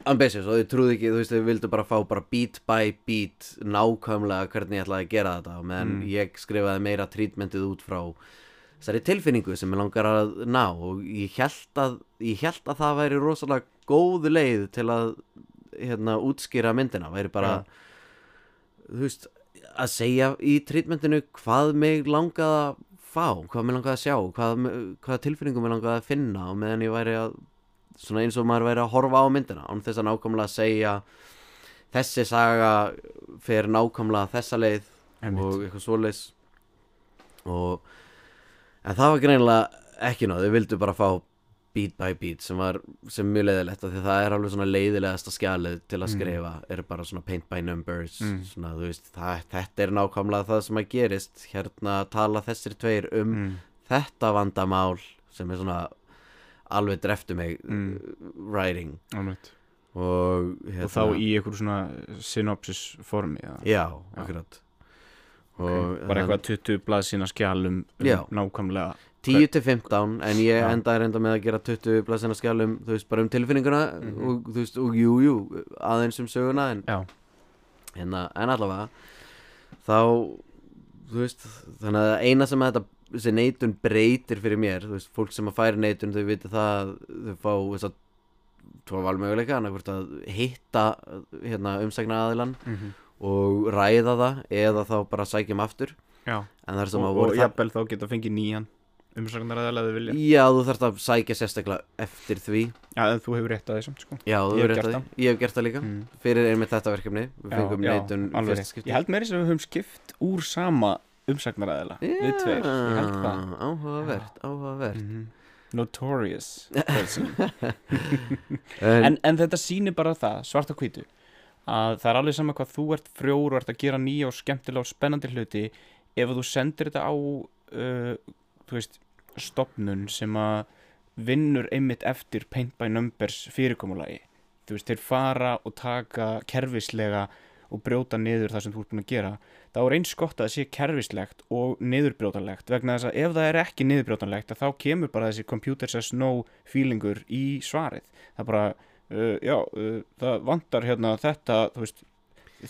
S2: ambitious og þau trúðu ekki, þú veist, þau vildu bara fá bara beat by beat nákvæmlega hvernig ég ætlaði að gera þetta og meðan
S1: Mm.
S2: ég skrifaði meira treatmentið út frá þessari tilfinningu sem ég langar að ná og ég held að, ég held að það væri rosalega góð leið til að hérna, útskýra myndina væri bara, þú veist að segja í treatmentinu hvað mig langaði að fá, hvað mér langaði að sjá hvað, hvaða tilfinningum mér langaði að finna og meðan ég væri að svona eins og maður væri að horfa á myndina án þess að nákvæmlega segja þessi saga fer nákvæmlega þessa leið
S1: einmitt.
S2: og eitthvað svoleiðis og en það var greinilega ekki náð, þau vildu bara fá beat by beat sem var sem er mjög leiðilegt af því að það er alveg svona leiðilegasta skjalið til að
S1: Mm.
S2: skrifa er bara svona paint by numbers
S1: Mm.
S2: svona þú veist, það, þetta er nákvæmlega það sem að gerist hérna tala þessir tveir um
S1: mm.
S2: þetta vandamál sem er svona alveg dreftu mig
S1: Mm.
S2: writing
S1: Alveg.
S2: og, hérna,
S1: og þá í einhver svona synopsis formi eða?
S2: já, akkurat og
S1: bara eitthvað 20 blað sína skjálum um
S2: Já.
S1: nákvæmlega
S2: 10 til 15 en ég
S1: Já.
S2: endaði reynda með að gera 20 blaðsina skjálum þú veist bara um tilfinninguna
S1: Mhm.
S2: og þú veist og jú jú aðeins um söguna en,
S1: Já.
S2: en, en allavega þá þú veist þannig að eina sem að þetta þessi neitun breytir fyrir mér þú veist fólk sem að færi neitun þau viti það að þau fá þess að tvo valmöguleika annarkvort að hitta hérna umsækna aðilan
S1: mm
S2: og ræða það eða þá bara sækjum aftur
S1: Já,
S2: en það er sem
S1: og,
S2: að
S1: og
S2: voru það
S1: jafnvel þá geta fengið nýjan umsagnar að þau vilja
S2: Já, þú þarft að sækja sérstaklega eftir því
S1: Já, en þú hefur rétt að þessum sko
S2: Já,
S1: Ég
S2: þú
S1: hef
S2: hefur rétt
S1: gert
S2: að því Ég hef gert það líka
S1: mm.
S2: Fyrir einmitt þetta verkefni Við
S1: Já,
S2: fengum
S1: já,
S2: neitun í
S1: alveg
S2: fyrsta
S1: rétt.
S2: skipti
S1: Ég held meiri sem við höfum skipt úr sama umsagnaræðila Við tveir, ég held það
S2: Já, Áhugavert, áhugavert
S1: mm Notorious person.
S2: En,
S1: en, en þetta sýnir bara það, svart og hvítu að það er alveg sama hvað þú ert frjór og ert að gera nýja og skemmtilega og spennandi hluti ef þú sendir þetta á uh, þú veist, stopnun sem að vinnur einmitt eftir paint by numbers fyrirkomulagi þú veist, þeir fara og taka kerfislega og brjóta niður það sem þú ert búin að gera þá er eins gott að það sé kerfislegt og niðurbrjótanlegt vegna þess að ef það er ekki niðurbrjótanlegt að þá kemur bara þessi computer says no feelingur í svarið það bara, uh, já, uh, það vantar hérna þetta, þú veist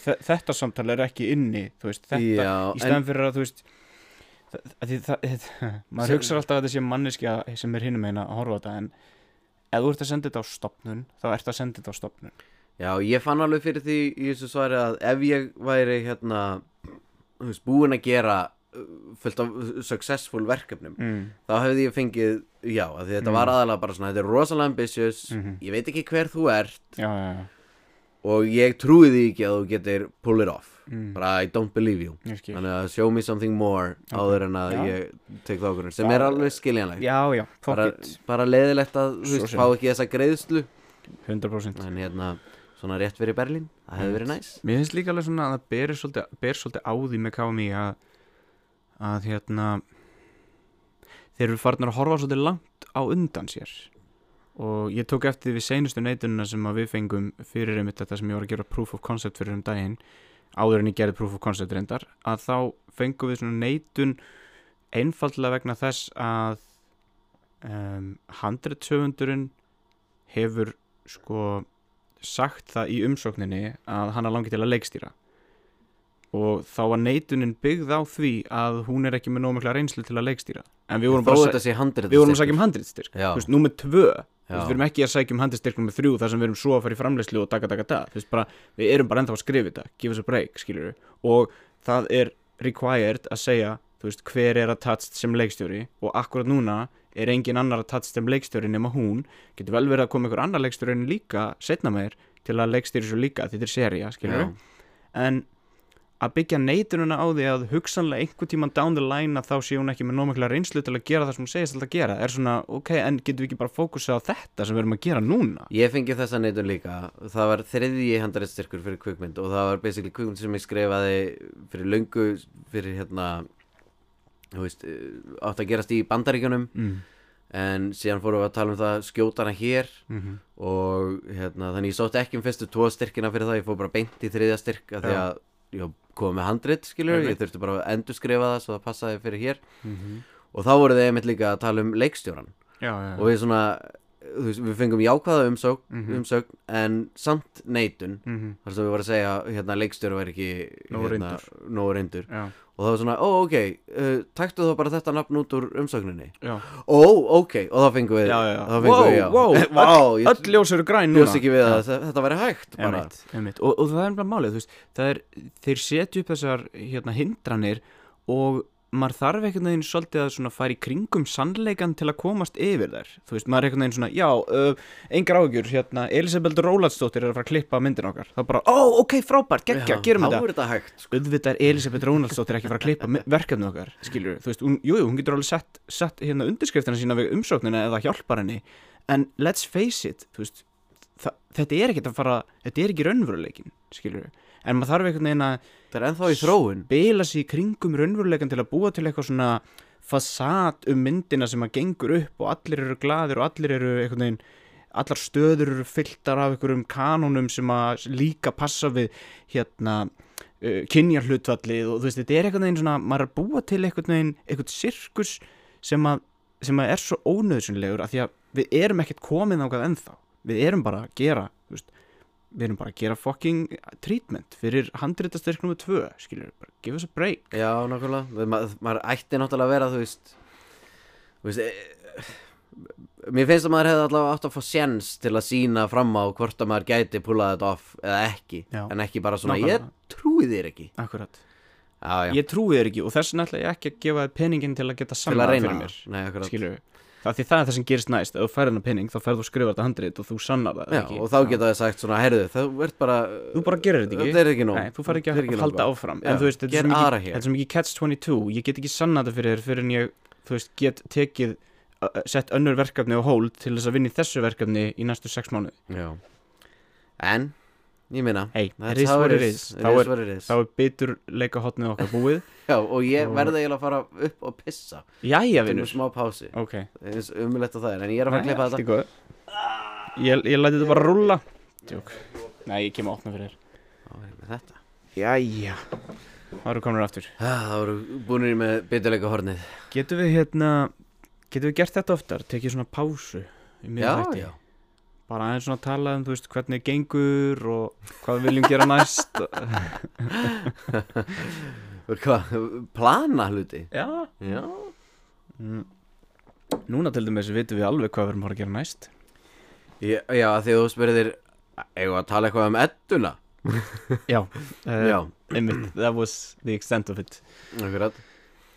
S1: þe- þetta samtal er ekki inni þú veist, þetta,
S2: já,
S1: í
S2: en,
S1: stæðan fyrir að þú veist það, að því, það, það, maður
S2: Sem-
S1: hugsar alltaf að þetta sé manneskja sem er hinum eina að horfa á þetta en ef þú ert að senda þetta á stopnun þá ert að senda þetta á stopnun
S2: já, ég fann alveg fyrir því í þessu svari að ef ég væri hérna þú veist, búin að gera uh, fullt af uh, successful verkefnum
S1: mm.
S2: þá hefði ég fengið, já, af því þetta
S1: Mm.
S2: var aðalega bara svona, þetta er rosalega ambitious
S1: Mhm.
S2: ég veit ekki hver þú ert
S1: já, já, já
S2: og ég trúi því ekki að þú getur pull it off
S1: Mm.
S2: bara I don't believe you
S1: Ég skil.
S2: Þannig að show me something more
S1: Ok.
S2: áður en að
S1: Já.
S2: ég tek það okkur sem
S1: Það-
S2: er alveg skiljanlegt
S1: já, já,
S2: bara,
S1: pocket
S2: bara leiðilegt að þú
S1: Svo
S2: veist,
S1: sem.
S2: fá ekki þessa greiðslu
S1: 100%
S2: en hérna, svona rétt fyrir Berlín það hefði verið næs
S1: Mér finnst líka alveg svona að það ber svolítið, ber svolítið á því með KMI að, að hérna þeir eru farnar að horfa svolítið langt á undan sér og ég tók eftir því við seinustu neitununa sem að við fengum fyrir einmitt þetta sem ég var að gera proof of concept fyrir um daginn áður en ég gerði proof of concept reyndar að þá fengum við svona neitun einfallega vegna þess að um, handritsöfundurinn hefur sko sagt það í umsókninni að hann er langið til að leikstýra og þá var neitunin byggð á því að hún er ekki með nóg mikla reynslu til að leikstýra en við vorum
S2: þó
S1: bara að
S2: þetta sé handrið
S1: við vorum að sækja um handriðstyrk
S2: Já.
S1: þú veist, númer tvö Þú
S2: Já.
S1: veist, við erum ekki að sækja um handriðstyrk númer þrjú þar sem við erum svo að fara í framleyslu og taka, taka, taka þú veist, bara, við erum bara ennþá að skrifa þetta give us a break, skilur við og það er required að segja þú veist, hver er að tatst sem leikstjóri og akkurat núna er engin annar að tatst sem leikstjóri nema hún getur vel verið að koma einhver annar leikstjóri en líka setna meir til að leikstjóri svo líka því þetta er seria, skilur
S2: já,
S1: en að byggja neitununa á því að hugsanlega einhver tíman down the line að þá sé hún ekki með nómikla reynslu til að gera það sem hún segist alltaf að gera er svona, ok, en getum við ekki bara fókusa á þetta sem við erum að gera núna
S2: ég fengi þessa neitun líka það var þriðji handriðstyrkur fyrir kvikmynd og það var basically kvikmynd sem ég skrifaði fyrir löngu fyrir hérna þú veist, eh, átt að gerast í bandaríkjunum
S1: mm.
S2: en síðan fórum við að tala um það skjótana hér
S1: Mm
S2: og hérna, þannig ég sótti ekki um fyrstu tvo styrkina fyrir það, ég fór bara beint í þriðja styrk af því
S1: Já.
S2: að ég kom með handrit skilur,
S1: Einmitt.
S2: ég þurfti bara að endurskrifa það svo það passaði fyrir hér
S1: -hmm.
S2: og þá voru þið einmitt líka að tala um leikstjóran
S1: Já, já,
S2: og við svona, þú veist, við fengum jákvæða umsók,
S1: Mhm.
S2: umsók en samt neitun
S1: mm -hmm.
S2: þar sem við varum að segja, hérna, leikstjóri væri ekki
S1: Nógu
S2: hérna, nógu reyndur
S1: já,
S2: og það var svona, ó, ok, uh, taktu þá bara þetta nafn út úr umsókninni
S1: já.
S2: ó, ok, og þá fengum við
S1: Já, já, já.
S2: þá fengum
S1: Wow,
S2: við, já,
S1: wow,
S2: wow, ég-
S1: öll ljós eru græn núna
S2: bjóst ekki við að þe- þetta væri hægt bara.
S1: Einmitt, einmitt. Og, og það er bara málið þú veist, það er, þeir setja upp þessar hérna, hindranir og maður þarf einhvern veginn svolítið að svona fara í kringum sannleikan til að komast yfir þær þú veist, maður er einhvern veginn svona, já, uh, engar áhugjur hérna, Elisabeth Rólandsdóttir er að fara að klippa myndin okkar, þá bara, ó, ok, frábært geggja, gerum
S2: Þá
S1: þetta
S2: er þetta hægt sko.
S1: auðvitað er Elisabeth Rónaldsdóttir ekki að fara að klippa verkefni okkar, skilur þú veist, hún, jú, jú, hún getur alveg sett, sett hérna undirskriftina sína við umsóknina eða hjálpar henni en let's face it, þú veist þa- þetta er ekki að fara, þetta er ekki raunveruleikin, skilur en maður þarf einhvern veginn að
S2: Það er ennþá í þróun
S1: beila sig í kringum raunveruleikan til að búa til eitthvað svona fasat um myndina sem að gengur upp og allir eru gladir og allir eru einhvern veginn allar stöður eru fylltar af einhverjum kanónum sem að líka passa við hérna uh, kynjarhlutvallið og þú veist, þetta er einhvern veginn svona, maður er að búa til einhvern veginn einhvern sirkus sem að, sem að er svo ónöðsynlegur að því að við erum ekkert komin ákvað ennþá við erum bara að gera, þú veist við erum bara að gera fucking treatment fyrir handrétastyrk nr. 2 skilur, bara give us a break
S2: Já, nákvæmlega Við- ma Maður ætti náttúrulega að vera, þú veist Þú veist e Mér finnst að maður hefði allavega átt að fá séns til að sína fram á hvort að maður gæti púlað þetta off eða ekki
S1: Já.
S2: En ekki bara svona,
S1: Nákvæmlega.
S2: ég trúi þér ekki
S1: akkurat,
S2: Já, já,
S1: ég trúi þér ekki og þess vegna ætla ég ekki að gefa þér peningin til að geta
S2: til að
S1: sannað
S2: reyna
S1: fyrir mér
S2: það. Nei, akkurat
S1: skilur, það, því það er það sem gerist næst ef þú færðin að pening þá færðu að skrifa þetta handrét og þú sannar það
S2: Já,
S1: ekki?
S2: og þá geta þið sagt svona, heyrðu, þú ert bara
S1: þú bara gerir þetta ekki
S2: Þetta er ekki nóg
S1: Nei, þú færð ekki
S2: Þetta er
S1: að
S2: nóg
S1: halda
S2: bara.
S1: áfram
S2: Já,
S1: en þú veist, þetta er
S2: ger
S1: svo
S2: aðra
S1: mikið-
S2: hér.
S1: þetta er svo mikið catch 22 ég get ekki sannað þetta fyrir þér fyrir en ég þú veist, get tekið uh, sett önnur verkefni á hold til þess að vinna í þessu verkefni í næstu sex mánu
S2: Já En, ég minna
S1: hey, it is what it is þá er, þá er bitur leikahotnið okkar búið
S2: Já, og ég
S1: Og-
S2: verði eiginlega að fara upp og pissa
S1: jæja
S2: Þetta er
S1: vinnur
S2: smá pási
S1: ok,
S2: eins umulett á það er En ég er að fara að
S1: Nei,
S2: klippa
S1: allt í
S2: þetta
S1: góðu. ég, ég læti þetta bara rúlla Djók. nei, ég kem að opna fyrir þér
S2: Á, ég er með Þetta
S1: jæja það eru komin aftur
S2: Ah, Það voru búinir með bituleika hornið
S1: getum við hérna getum við gert þetta oftar, tekið svona pásu í miðjum þætti? bara aðeins svona tala um, þú veist, hvernig gengur og hvað við viljum gera næst
S2: Og Hvað, plana hluti
S1: Já
S2: Já
S1: mm. Núna til dæmis vitum við alveg hvað við erum bara að gera næst
S2: Já, af því að þú spurðir Eigum við að tala eitthvað um edduna
S1: Já,
S2: Já,
S1: uh, einmitt, that was the extent of it
S2: akkurat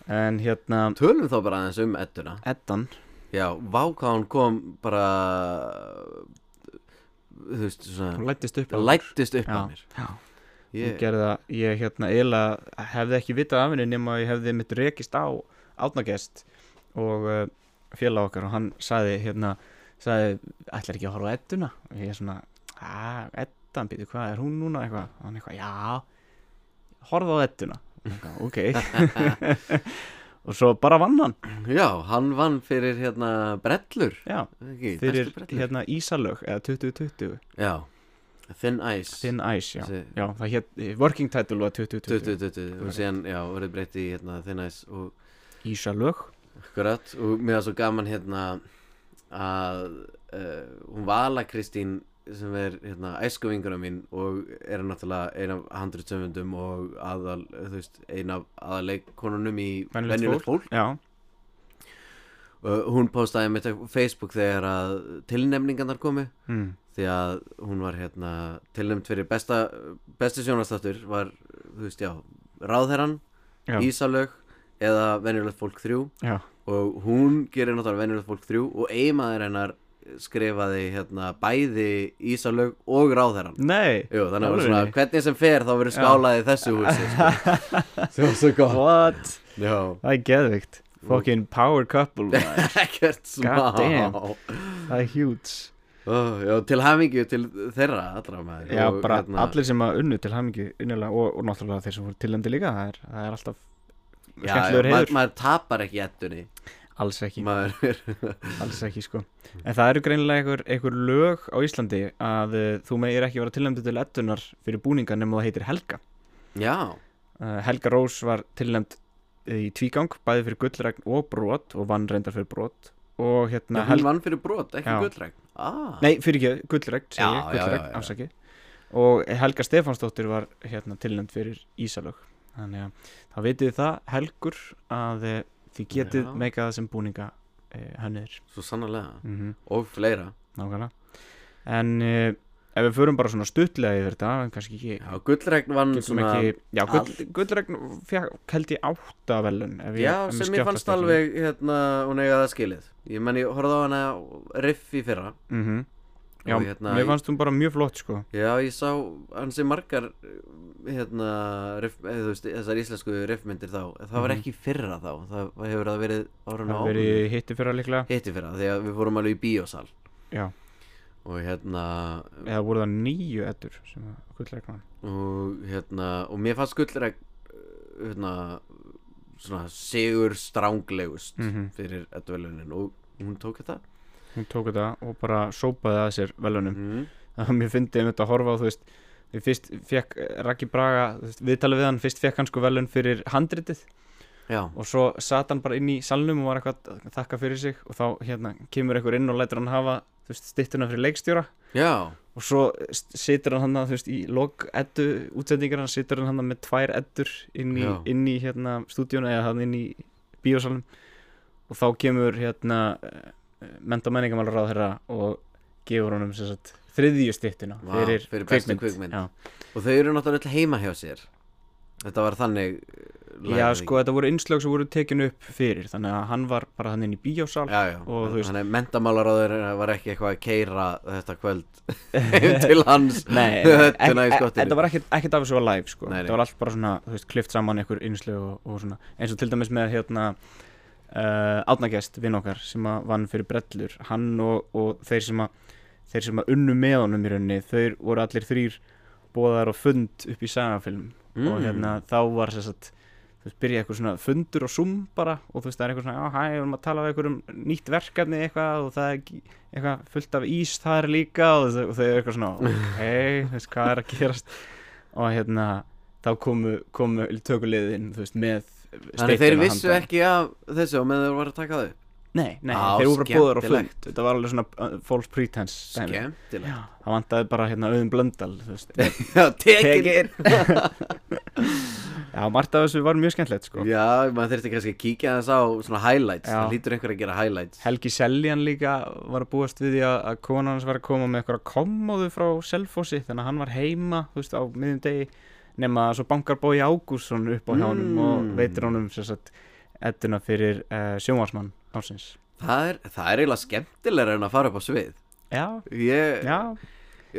S1: En hérna,
S2: Tölum þá bara aðeins um edduna
S1: Eddan
S2: Já, vá hvað hún kom bara Þú veist,
S1: Hún
S2: svona
S1: lættist upp á okkur.
S2: Lættist upp
S1: Já,
S2: á mér
S1: já, hún
S2: Ég,
S1: gerði það, ég hérna eiginlega hefði ekki vitað af henni nema að ég hefði mitt rekist á átnagest og uh, félag okkar og hann sagði hérna, sagði, ætlar ekki að horfa á Edduna og ég svona, að, Eddan, býtu, hvað er hún núna eitthvað, og hann eitthvað, já horfa á Edduna Og ég eitthvað, ok og svo bara vann hann,
S2: já, hann vann fyrir hérna brellur
S1: já
S2: ekki,
S1: fyrir
S2: bestu brellur
S1: hérna Ísalög eða 2020,
S2: Já, Thin Ice
S1: Thin Ice, já
S2: Þessi-
S1: já, það hétt, working title var 2020
S2: 20, 20, og síðan, já, verið breytt í hérna, Thin Ice og
S1: Ísalög,
S2: akkurat og mér var svo gaman hérna að uh, hún Vala Kristín sem er hérna æskuvinguna mín og er náttúrulega ein af handrutsöfundum og aðal, þú veist, ein af aðalegkonunum í
S1: Venjulegt
S2: Venjulegt fólk
S1: já
S2: og hún postaði mitt á Facebook þegar að tilnefningarnar komu
S1: mm.
S2: því að hún var hérna tilnefnd fyrir besta, besti sjónastáttur var, þú veist, já, ráðherran
S1: Já.
S2: Ísalög eða Venjulegt fólk 3
S1: Já,
S2: og hún gerir náttúrulega Venjulegt fólk 3 og eiginmaður hennar skrifaði hérna bæði Ísalög og ráðherran
S1: nei
S2: Jú, þannig að það var
S1: Alvöru?
S2: svona, hvernig sem fer þá verður skálaði í þessu húsi sko. Það var svo gott
S1: What?
S2: Já,
S1: Það er geðvikt Fucking power couple maður.
S2: ekkert smá
S1: God damn. Það er huge
S2: Ó, Já, til hamingju til þeirra allra maður
S1: Já,
S2: Og, hérna,
S1: bara allir sem að unnu til hamingi unnilega og, og náttúrulega þeir sem voru tilendi líka það er, það er alltaf
S2: já,
S1: skemmtilegur
S2: já,
S1: heiður.
S2: maður, maður tapar ekki ettunni
S1: alls ekki,
S2: maður er
S1: alls ekki sko En það eru greinilega einhver, einhver lög á Íslandi að uh, þú megir ekki vera tilendi til ettunar fyrir búninga nema það heitir Helga
S2: Já,
S1: uh, Helga Rós var tilnefnd eh, í tvígang, bæði fyrir gullregn og brot og vann reyndar fyrir brot og
S2: Nei,
S1: hérna
S2: hún vann fyrir brot, ekki
S1: Já.
S2: gullregn ah.
S1: Nei, fyrir ekki, gullregt,
S2: Já,
S1: segi ég,
S2: já, já,
S1: gullregt,
S2: já.
S1: afsaki Og Helga Stefánsdóttir var hérna tilnæmt fyrir Ísalög Þannig að þá vitið þið það, Helgur, að eh, þið getið
S2: Já.
S1: já. meika það sem búninga eh, hönnir
S2: Svo sannarlega
S1: mm -hmm.
S2: Og fleira
S1: Nákvæmlega En eh, ef við förum bara svona stuttlega yfir þetta en kannski ekki
S2: Já, gullregn vann
S1: getum
S2: Mm, svona
S1: ekki, já, gull,
S2: allt.
S1: gullregn fekk held ég átta velun ef ég,
S2: Já,
S1: ef
S2: sem
S1: skjátlast
S2: ég fannst
S1: ekki.
S2: alveg hérna, hún eiga það skilið Ég menn, ég horfði á hana riff í fyrra
S1: Mhm. já,
S2: Og hérna,
S1: mér fannst hún bara mjög flott sko
S2: Já, ég sá hansi margar hérna, riff, eða, þú veist, þessar íslensku riffmyndir þá Það var
S1: Mhm.
S2: ekki í fyrra þá, það hefur það verið árun
S1: það
S2: og
S1: verið hitti fyrir að líklega
S2: hitti fyrra Því að við fórum alveg í bíósal
S1: já,
S2: Og hérna,
S1: eða voru það nýju ettur sem að gullregn var
S2: og hérna, og mér fannst gullregn hérna, svona sigur stránglegust
S1: Mhm.
S2: fyrir edduvelunin og hún tók þetta
S1: hún tók þetta og bara sópaði að sér velunum
S2: mm.
S1: að mér fyndi um þetta að horfa á þú veist ég fyrst fekk Raki Braga þú veist, viðtalið við hann, fyrst fekk hann sko velun fyrir handritið
S2: Já,
S1: og svo satt hann bara inn í salnum og var eitthvað að þakka fyrir sig og þá hérna kemur einhver inn og lætur hann hafa þú veist, styttuna fyrir leikstjóra
S2: já
S1: og svo st- situr hann hann þú veist í lok eddu útsendingar hann situr hann hann með tvær eddur inn í,
S2: Já.
S1: inn í hérna stúdíun eða hann inn í bíósalnum og þá kemur hérna mentamenningamálar á þeirra og gefur honum sem sagt þriðju styttuna
S2: Vá,
S1: fyrir,
S2: fyrir bestu kvikmynd.
S1: Já.
S2: Og þau eru náttúrulega öll heima hjá sér Þetta var þannig eh,
S1: Já,
S2: lagað,
S1: sko, þetta voru innslög sem voru tekin upp fyrir þannig að hann var bara hann inn í bíósal
S2: ekki? Já, já,
S1: og þú veist-
S2: hann er mentamálaráður var ekki eitthvað að keira þetta kvöld heim til hans
S1: Nei, e,
S2: höttuna í skottinu
S1: þetta var ekkert, ekkert af þessu var live sko.
S2: Nei, nei.
S1: þetta var allt bara svona, þú veist, klift saman einhver innslög og, og svona, eins og til dæmis með hérna uh, átnagest vinn okkar sem að vann fyrir brellur hann og, og þeir sem að þeir sem að unnu með honum í rauninni þeir voru allir þrýr bóðar og fund upp í sagafilm
S2: Mhm. Mm.
S1: og hérna þá var þess að þú veist, byrja eitthvað svona fundur og sum bara og þú veist, það er eitthvað svona, já, hæ, við erum að tala við eitthvað um nýtt verkefni eitthvað og það er ekki- eitthvað fullt af ís þar líka og, þau- og þau eru eitthvað svona, ok, þú veist, hvað er að gerast og hérna, þá komu, komu tökulegðin, þú veist, með
S2: Þannig þeir
S1: steypuna
S2: vissu
S1: handan.
S2: ekki af þessu og meðan þeir voru að taka þau
S1: Nei, nei,
S2: Á,
S1: þeir voru bara bóður á fund
S2: skemmtilegt.
S1: Þetta var alveg svona uh, false pretense dæmi.
S2: Skemmtilega
S1: Já, það vantaði bara hérna auðum blöndal, þú veist
S2: Já, tekin
S1: Já, margt af þessu var mjög skemmtilegt, sko
S2: Já, maður þurfti kannski að kíkja þess á svona highlights
S1: Já.
S2: Það lítur einhver að gera highlights
S1: Helgi Seljan líka var að búast við því að, að konan hans var að koma með eitthvað komóðu frá Selfossi þannig að hann var heima þú veist, á miðjum degi nema að svo bankar Bói Ágússon upp á hjá honum
S2: Mm.
S1: og veitir honum sem sagt ettuna fyrir uh, sjónvarsmann ásins
S2: Það er, það er eiginlega skemmtilega en að fara upp á svið
S1: Já,
S2: Ég,
S1: já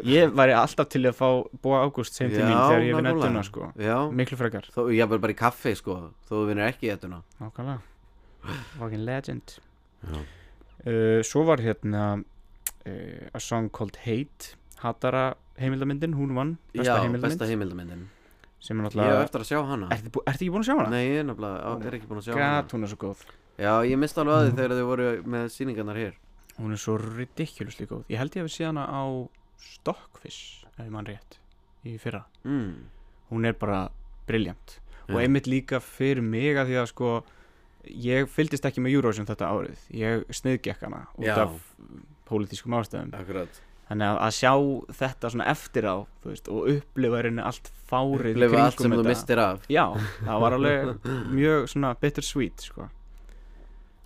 S1: Ég væri alltaf til í að fá Bói Ágúst sem til mín
S2: Já,
S1: þegar ég vinn
S2: nákvæmlega.
S1: ettuna sko
S2: Já,
S1: Miklu frekar,
S2: Þó, ég verð bara í kaffi sko, þó þú vinnur ekki í ettuna
S1: nákvæmlega Fucking legend
S2: Já.
S1: uh, Svo var hérna uh, A Song Called Hate Hatara heimildamyndin, hún vann besta
S2: Já,
S1: heimildamynd
S2: besta heimildamindin
S1: sem er
S2: Ég hef
S1: náttúrulega
S2: eftir að sjá hana
S1: ertu, bú, ertu ekki búin að sjá hana?
S2: Nei, ég er nefnilega, á- er ekki búin að sjá
S1: Gat, hún er svo góð
S2: hana Já, ég misti alveg að
S1: Mm.
S2: því þegar þau voru með sýningarnar hér
S1: hún er svo ridiculously góð ég held ég hefði séð hana á Stockfish ef ég mann rétt í fyrra
S2: mm.
S1: hún er bara briljant og
S2: Já.
S1: einmitt líka fyrir mig að því að sko ég fylgdist ekki með Eurovision þetta árið ég sniðgekk hana út
S2: Já.
S1: af pólitískum ástæðum
S2: Akkurat
S1: þannig að, að sjá þetta svona eftir á þú veist, og upplifa henni allt fárið
S2: Upplifa allt
S1: kringum
S2: sem þú
S1: þetta.
S2: mistir af
S1: já, það var alveg mjög svona bittersweet sko.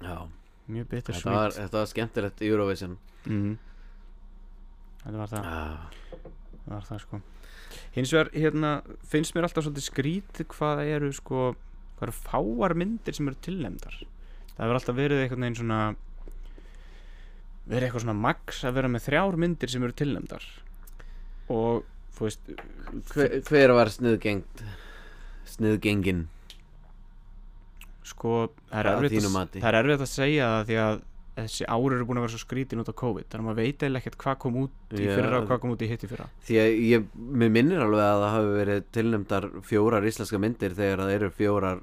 S2: Já,
S1: mjög bittersweet
S2: þetta var, þetta var skemmtilegt í Eurovision
S1: mm. Þetta var það,
S2: ah.
S1: það var það sko Hins vegar hérna finnst mér alltaf svolítið skrítið hvað það eru sko hvað eru fáar myndir sem eru tilnefndar Það hefur alltaf verið einhvern veginn svona verið eitthvað svona max að vera með þrjár myndir sem eru tilnefndar og þú veist
S2: hver, hver var sniðgengt? Sniðgengin
S1: sko það er
S2: Að
S1: erfitt
S2: þínu
S1: að-
S2: mati.
S1: það er erfitt að segja það því að þessi ár eru búin að vera svo skrítin út á COVID þannig að maður veit eiginlega ekkert hvað kom út í
S2: Já.
S1: fyrra og hvað kom út í hitt í fyrra
S2: Því að ég, mér minnir alveg að það hafi verið tilnefndar fjórar íslenska myndir þegar það eru fjórar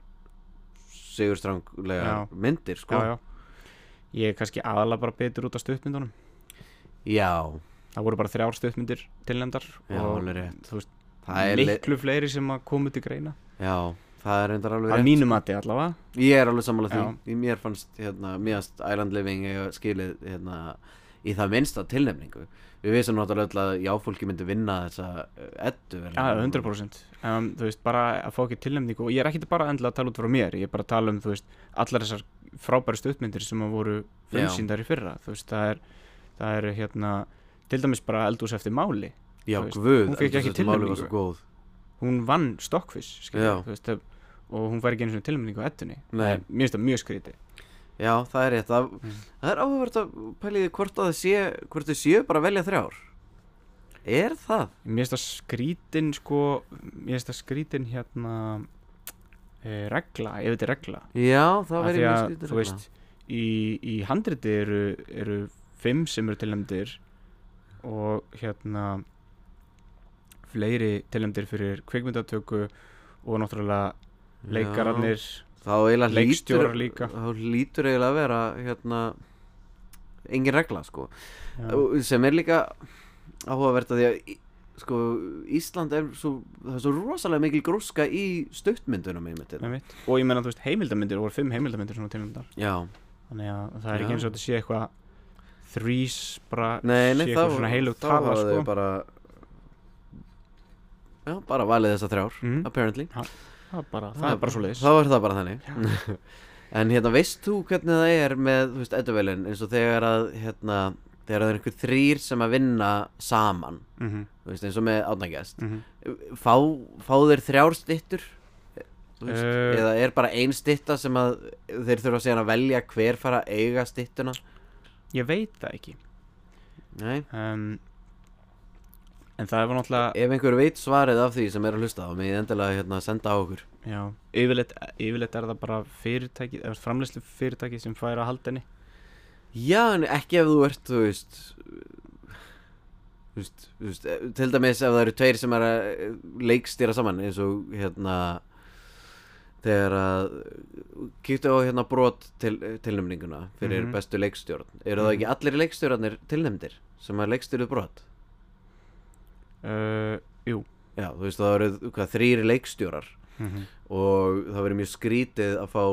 S2: sigurstranglega
S1: Já.
S2: myndir sko.
S1: já, já. Ég er kannski aðalega bara betur út af stuttmyndunum
S2: Já,
S1: Það voru bara þrjár stuttmyndir tilnefndar
S2: já,
S1: og
S2: alveg rétt
S1: þú veist,
S2: Það er le-
S1: miklu fleiri sem að komu til greina
S2: Já, það er reyndar alveg
S1: Að
S2: rétt
S1: mínu mati allavega
S2: Ég er alveg sammála því
S1: Já.
S2: Í Mér fannst, hérna, mjögast Island Living eiga skilið, hérna, í það minnsta tilnefningu Við vissum náttúrulega öll að já, fólki myndi vinna þessa eh, eddu
S1: Já, 100% um, Þú veist, bara að fá ekki tilnefningu og ég er ekkit bara endilega að tala út frá mér Ég er bara að tala um, þú veist, allar þessar frábæri stuttmyndir sem að voru
S2: Já.
S1: frumsýndar í fyrra Þú veist, það er, það er hérna, til dæmis bara eldús eftir máli þú
S2: já,
S1: veist,
S2: guð,
S1: hún fékk
S2: eldhús,
S1: ekki
S2: þetta málið var
S1: tilnefningu.
S2: svo góð
S1: hún vann Stockfish
S2: Já.
S1: skilur, þú veist, það- og hún fær ekki einu svona tilmyndingu á ettunni
S2: Nei.
S1: mér finnst það mjög skríti
S2: já, það er rétt, það, það er áhugavert að pæliði hvort að það sé, hvort þið séu bara að velja þrjár er það?
S1: mér finnst það skrítin sko mér finnst það skrítin hérna e, regla, ef þetta er regla
S2: já, það
S1: Af því
S2: verið mjög hérna.
S1: að,
S2: skýtur
S1: þú veist, í, í handriti eru, eru fimm sem eru tilnæmdir og hérna fleiri tilnæmdir fyrir kvikmyndatöku og náttúrulega leikararnir
S2: þá eiginlega lítur
S1: Leikstjórar líka.
S2: þá lítur eiginlega að vera hérna engin regla sko
S1: Já.
S2: Og sem er líka áhugavert að því að í- sko Ísland er svo það er svo rosalega mikil gróska í stuttmyndunum einmitt hérna.
S1: Einmitt. og ég menna, þú veist, heimildamindir, voru fimm heimildamindir svona tilnæmdar,
S2: já,
S1: þannig að það er ekki
S2: Já.
S1: eins og þetta sé eitthvað þrýs bara
S2: nei, nei
S1: sé
S2: þá,
S1: eitthvað svona heilug
S2: þá
S1: tala
S2: hafa
S1: sko.
S2: þau bara já, bara valið þessar þrjár
S1: Mhm.
S2: apparently
S1: það er bara, það er bara svo leiðis
S2: þá er það bara þannig en hérna veist þú hvernig það er með þú veist edduvelin eins og þegar að hérna þegar það er einhver þrýr sem að vinna saman
S1: Mhm,
S2: þú veist eins og með átnægjast fá, fá þeir þrjár stittur Þú veist,
S1: Eh.
S2: eða er bara ein stitta sem að þeir þurfa síðan að velja hver fara að eiga stittuna
S1: ég veit það ekki
S2: Nei.
S1: um, en það var náttúrulega
S2: ef einhver veit svarið af því sem er að hlusta þá mig endilega hérna senda á okkur
S1: já, yfirleitt, yfirleitt er það bara fyrirtæki, eða framleyslu fyrirtæki sem fær að halda henni
S2: Já, en ekki ef þú ert, þú veist Þú veist, þú veist eh, til dæmis ef það eru tveir sem er að eh, leikstýra saman eins og hérna þegar að kýttu á hérna brot til, tilnæmninguna fyrir
S1: Mhm.
S2: bestu leikstjórn eru það
S1: Mhm.
S2: ekki allir leikstjórnir tilnæmdir sem að leikstýruð brot
S1: uh, jú
S2: já, þú veist það eru hvað, þrýri leikstjórar og það verið mjög skrítið að fá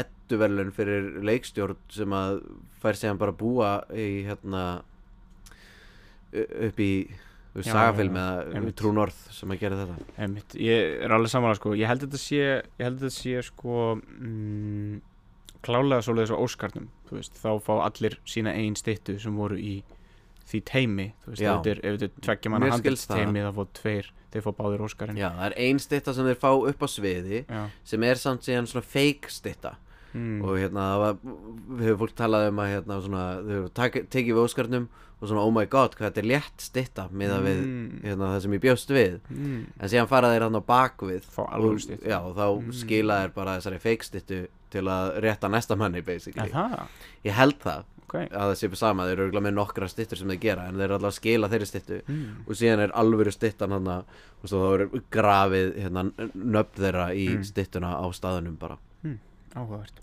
S2: ettuverlun fyrir leikstjórn sem að fær síðan bara að búa í hérna u- upp í þú veist,
S1: Já,
S2: sagafilm
S1: já,
S2: eða
S1: einmitt.
S2: Trú North sem að gera þetta
S1: Einmitt, ég er alveg samanlega sko ég held að þetta sé, ég held að þetta sé sko mm, klálega svoleiðis á Óskarnum, þú veist, þá fá allir sína einn styttu sem voru í því teimi, þú veist,
S2: Já.
S1: ef þetta er- ef þetta er tveggja manna
S2: Mér skilst
S1: handelt
S2: það.
S1: teimi þá fá tveir, þeir fá báðir Óskarinn
S2: já, það er ein stytta sem þeir fá upp á sviði
S1: Já.
S2: sem er samt síðan svona fake stytta
S1: Mm.
S2: og hérna það var, hefur fólk talað um að hérna svona, þau hefur tak- tekið við Óskarnum og svona oh my god hvað þetta er létt stytta miðað við
S1: Mm.
S2: hérna það sem ég bjóst við
S1: mm.
S2: en síðan fara þeir hann á bakvið
S1: fá
S2: og,
S1: alveg styttu
S2: já, og þá
S1: Mm.
S2: skila þér bara þessari feikstittu til að rétta næsta manni basically.
S1: það,
S2: ég held það
S1: ok
S2: að það sé bara sama, þeir eru örugglega með nokkra stittur sem þeir gera en þeir eru alltaf að skila þeirri stittu
S1: mm.
S2: og síðan er alvöru stittan hann og svo þá er grafið hérna, nöfn þeirra í
S1: Mm.
S2: stittuna á staðunum bara
S1: áhugavert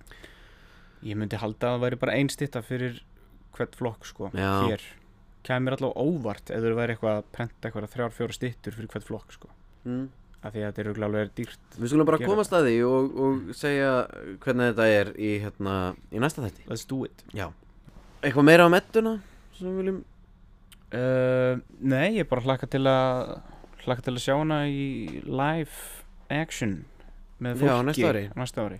S1: ég myndi halda að það væri bara einn stytta fyrir hvert flokk sko
S2: Já.
S1: hér, kemur alltaf óvart ef þú væri eitthvað að prenta eitthvað þrjár, fjóra styttur fyrir hvert flokk sko
S2: mm.
S1: af því að þetta er örugglega alveg dýrt
S2: við skulum bara
S1: Gera Mm.
S2: komast að því og, og segja hvernig þetta er í, hérna, í næsta þætti
S1: let's do it
S2: já. eitthvað meira á mettuna sem við viljum
S1: uh, nei, ég bara hlakka til að hlakka til að sjá hana í live action með
S2: Já,
S1: fólki
S2: næsta ári.
S1: næsta ári.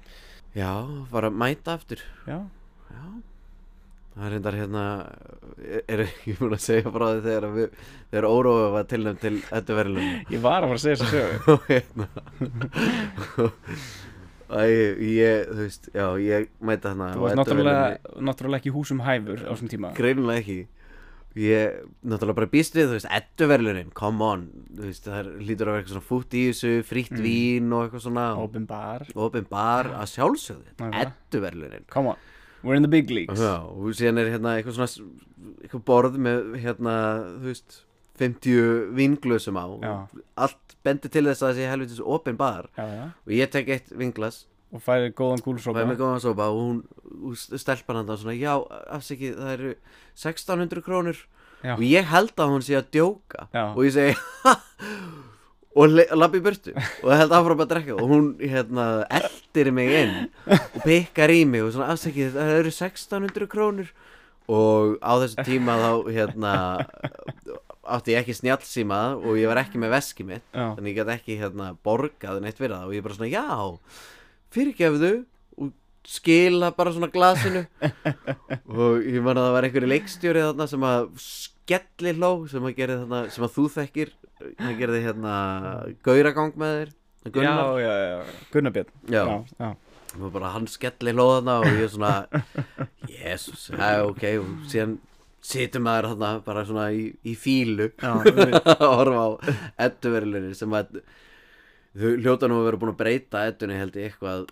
S2: já, bara mæta aftur
S1: Já.
S2: Já Það er reyndar hérna er- er ekki múin að segja frá því þegar að við þegar óróið var tilnæmt til þetta verðlunum
S1: ég var að fara að segja þess að sögu
S2: og hérna Æ, ég, þú veist, já, ég mæta hana
S1: þú varst náttúrulega, náttúrulega ekki í húsum hæfur á þessum tíma
S2: Greinlega ekki Ég, náttúrulega bara býst við, þú veist, edduverlunin, come on Þú veist, það er- hlýtur að vera eitthvað svona fútt í þessu, frítt
S1: Mm.
S2: vín og eitthvað svona
S1: open bar,
S2: Opin bar, að sjálfsögðu,
S1: Nákvæmlega.
S2: edduverlunin
S1: come on, we're in the big leagues
S2: Já, og síðan er hérna eitthvað svona s- eitthvað borð með hérna, þú veist 50 vinglösum á
S1: Já.
S2: allt bendir til þess að það sé helvitis opin bar
S1: já, já.
S2: og ég tek eitt vinglas
S1: og færið góðan
S2: og
S1: gúlsópa
S2: er með góðan sopa og hún og s- stelpan hann svona, já, afsikið það eru 1600 krónur
S1: Já.
S2: og ég held að hún sé að djóka
S1: Já.
S2: og ég segi og le- labba í burtu og held áfram að drekka og hún hérna eldir mig inn og pikkar í mig og svona afsækið það eru 1600 krónur og á þessu tíma þá hérna átti ég ekki snjallsíma og ég var ekki með veskið mitt
S1: Já.
S2: þannig ég gæti ekki hérna borgað neitt fyrir það og ég bara svona já fyrirgefðu og skila bara svona glasinu og ég man að það var einhverju leikstjóri þarna sem að s- skelli hló sem að, gerði, þarna, sem að þú þekkir hann gerði hérna gauragang með þér Gunnar,
S1: já, já, já, Gunnar Björn
S2: já,
S1: já,
S2: já.
S1: já.
S2: Og bara hann skelli hló þarna og ég svona Jesus, já ok og síðan situr maður þarna bara svona í, í fílu
S1: Já,
S2: að horfa á edduverilunni sem að þau hljóta nú að vera búin að breyta eddunni held ég eitthvað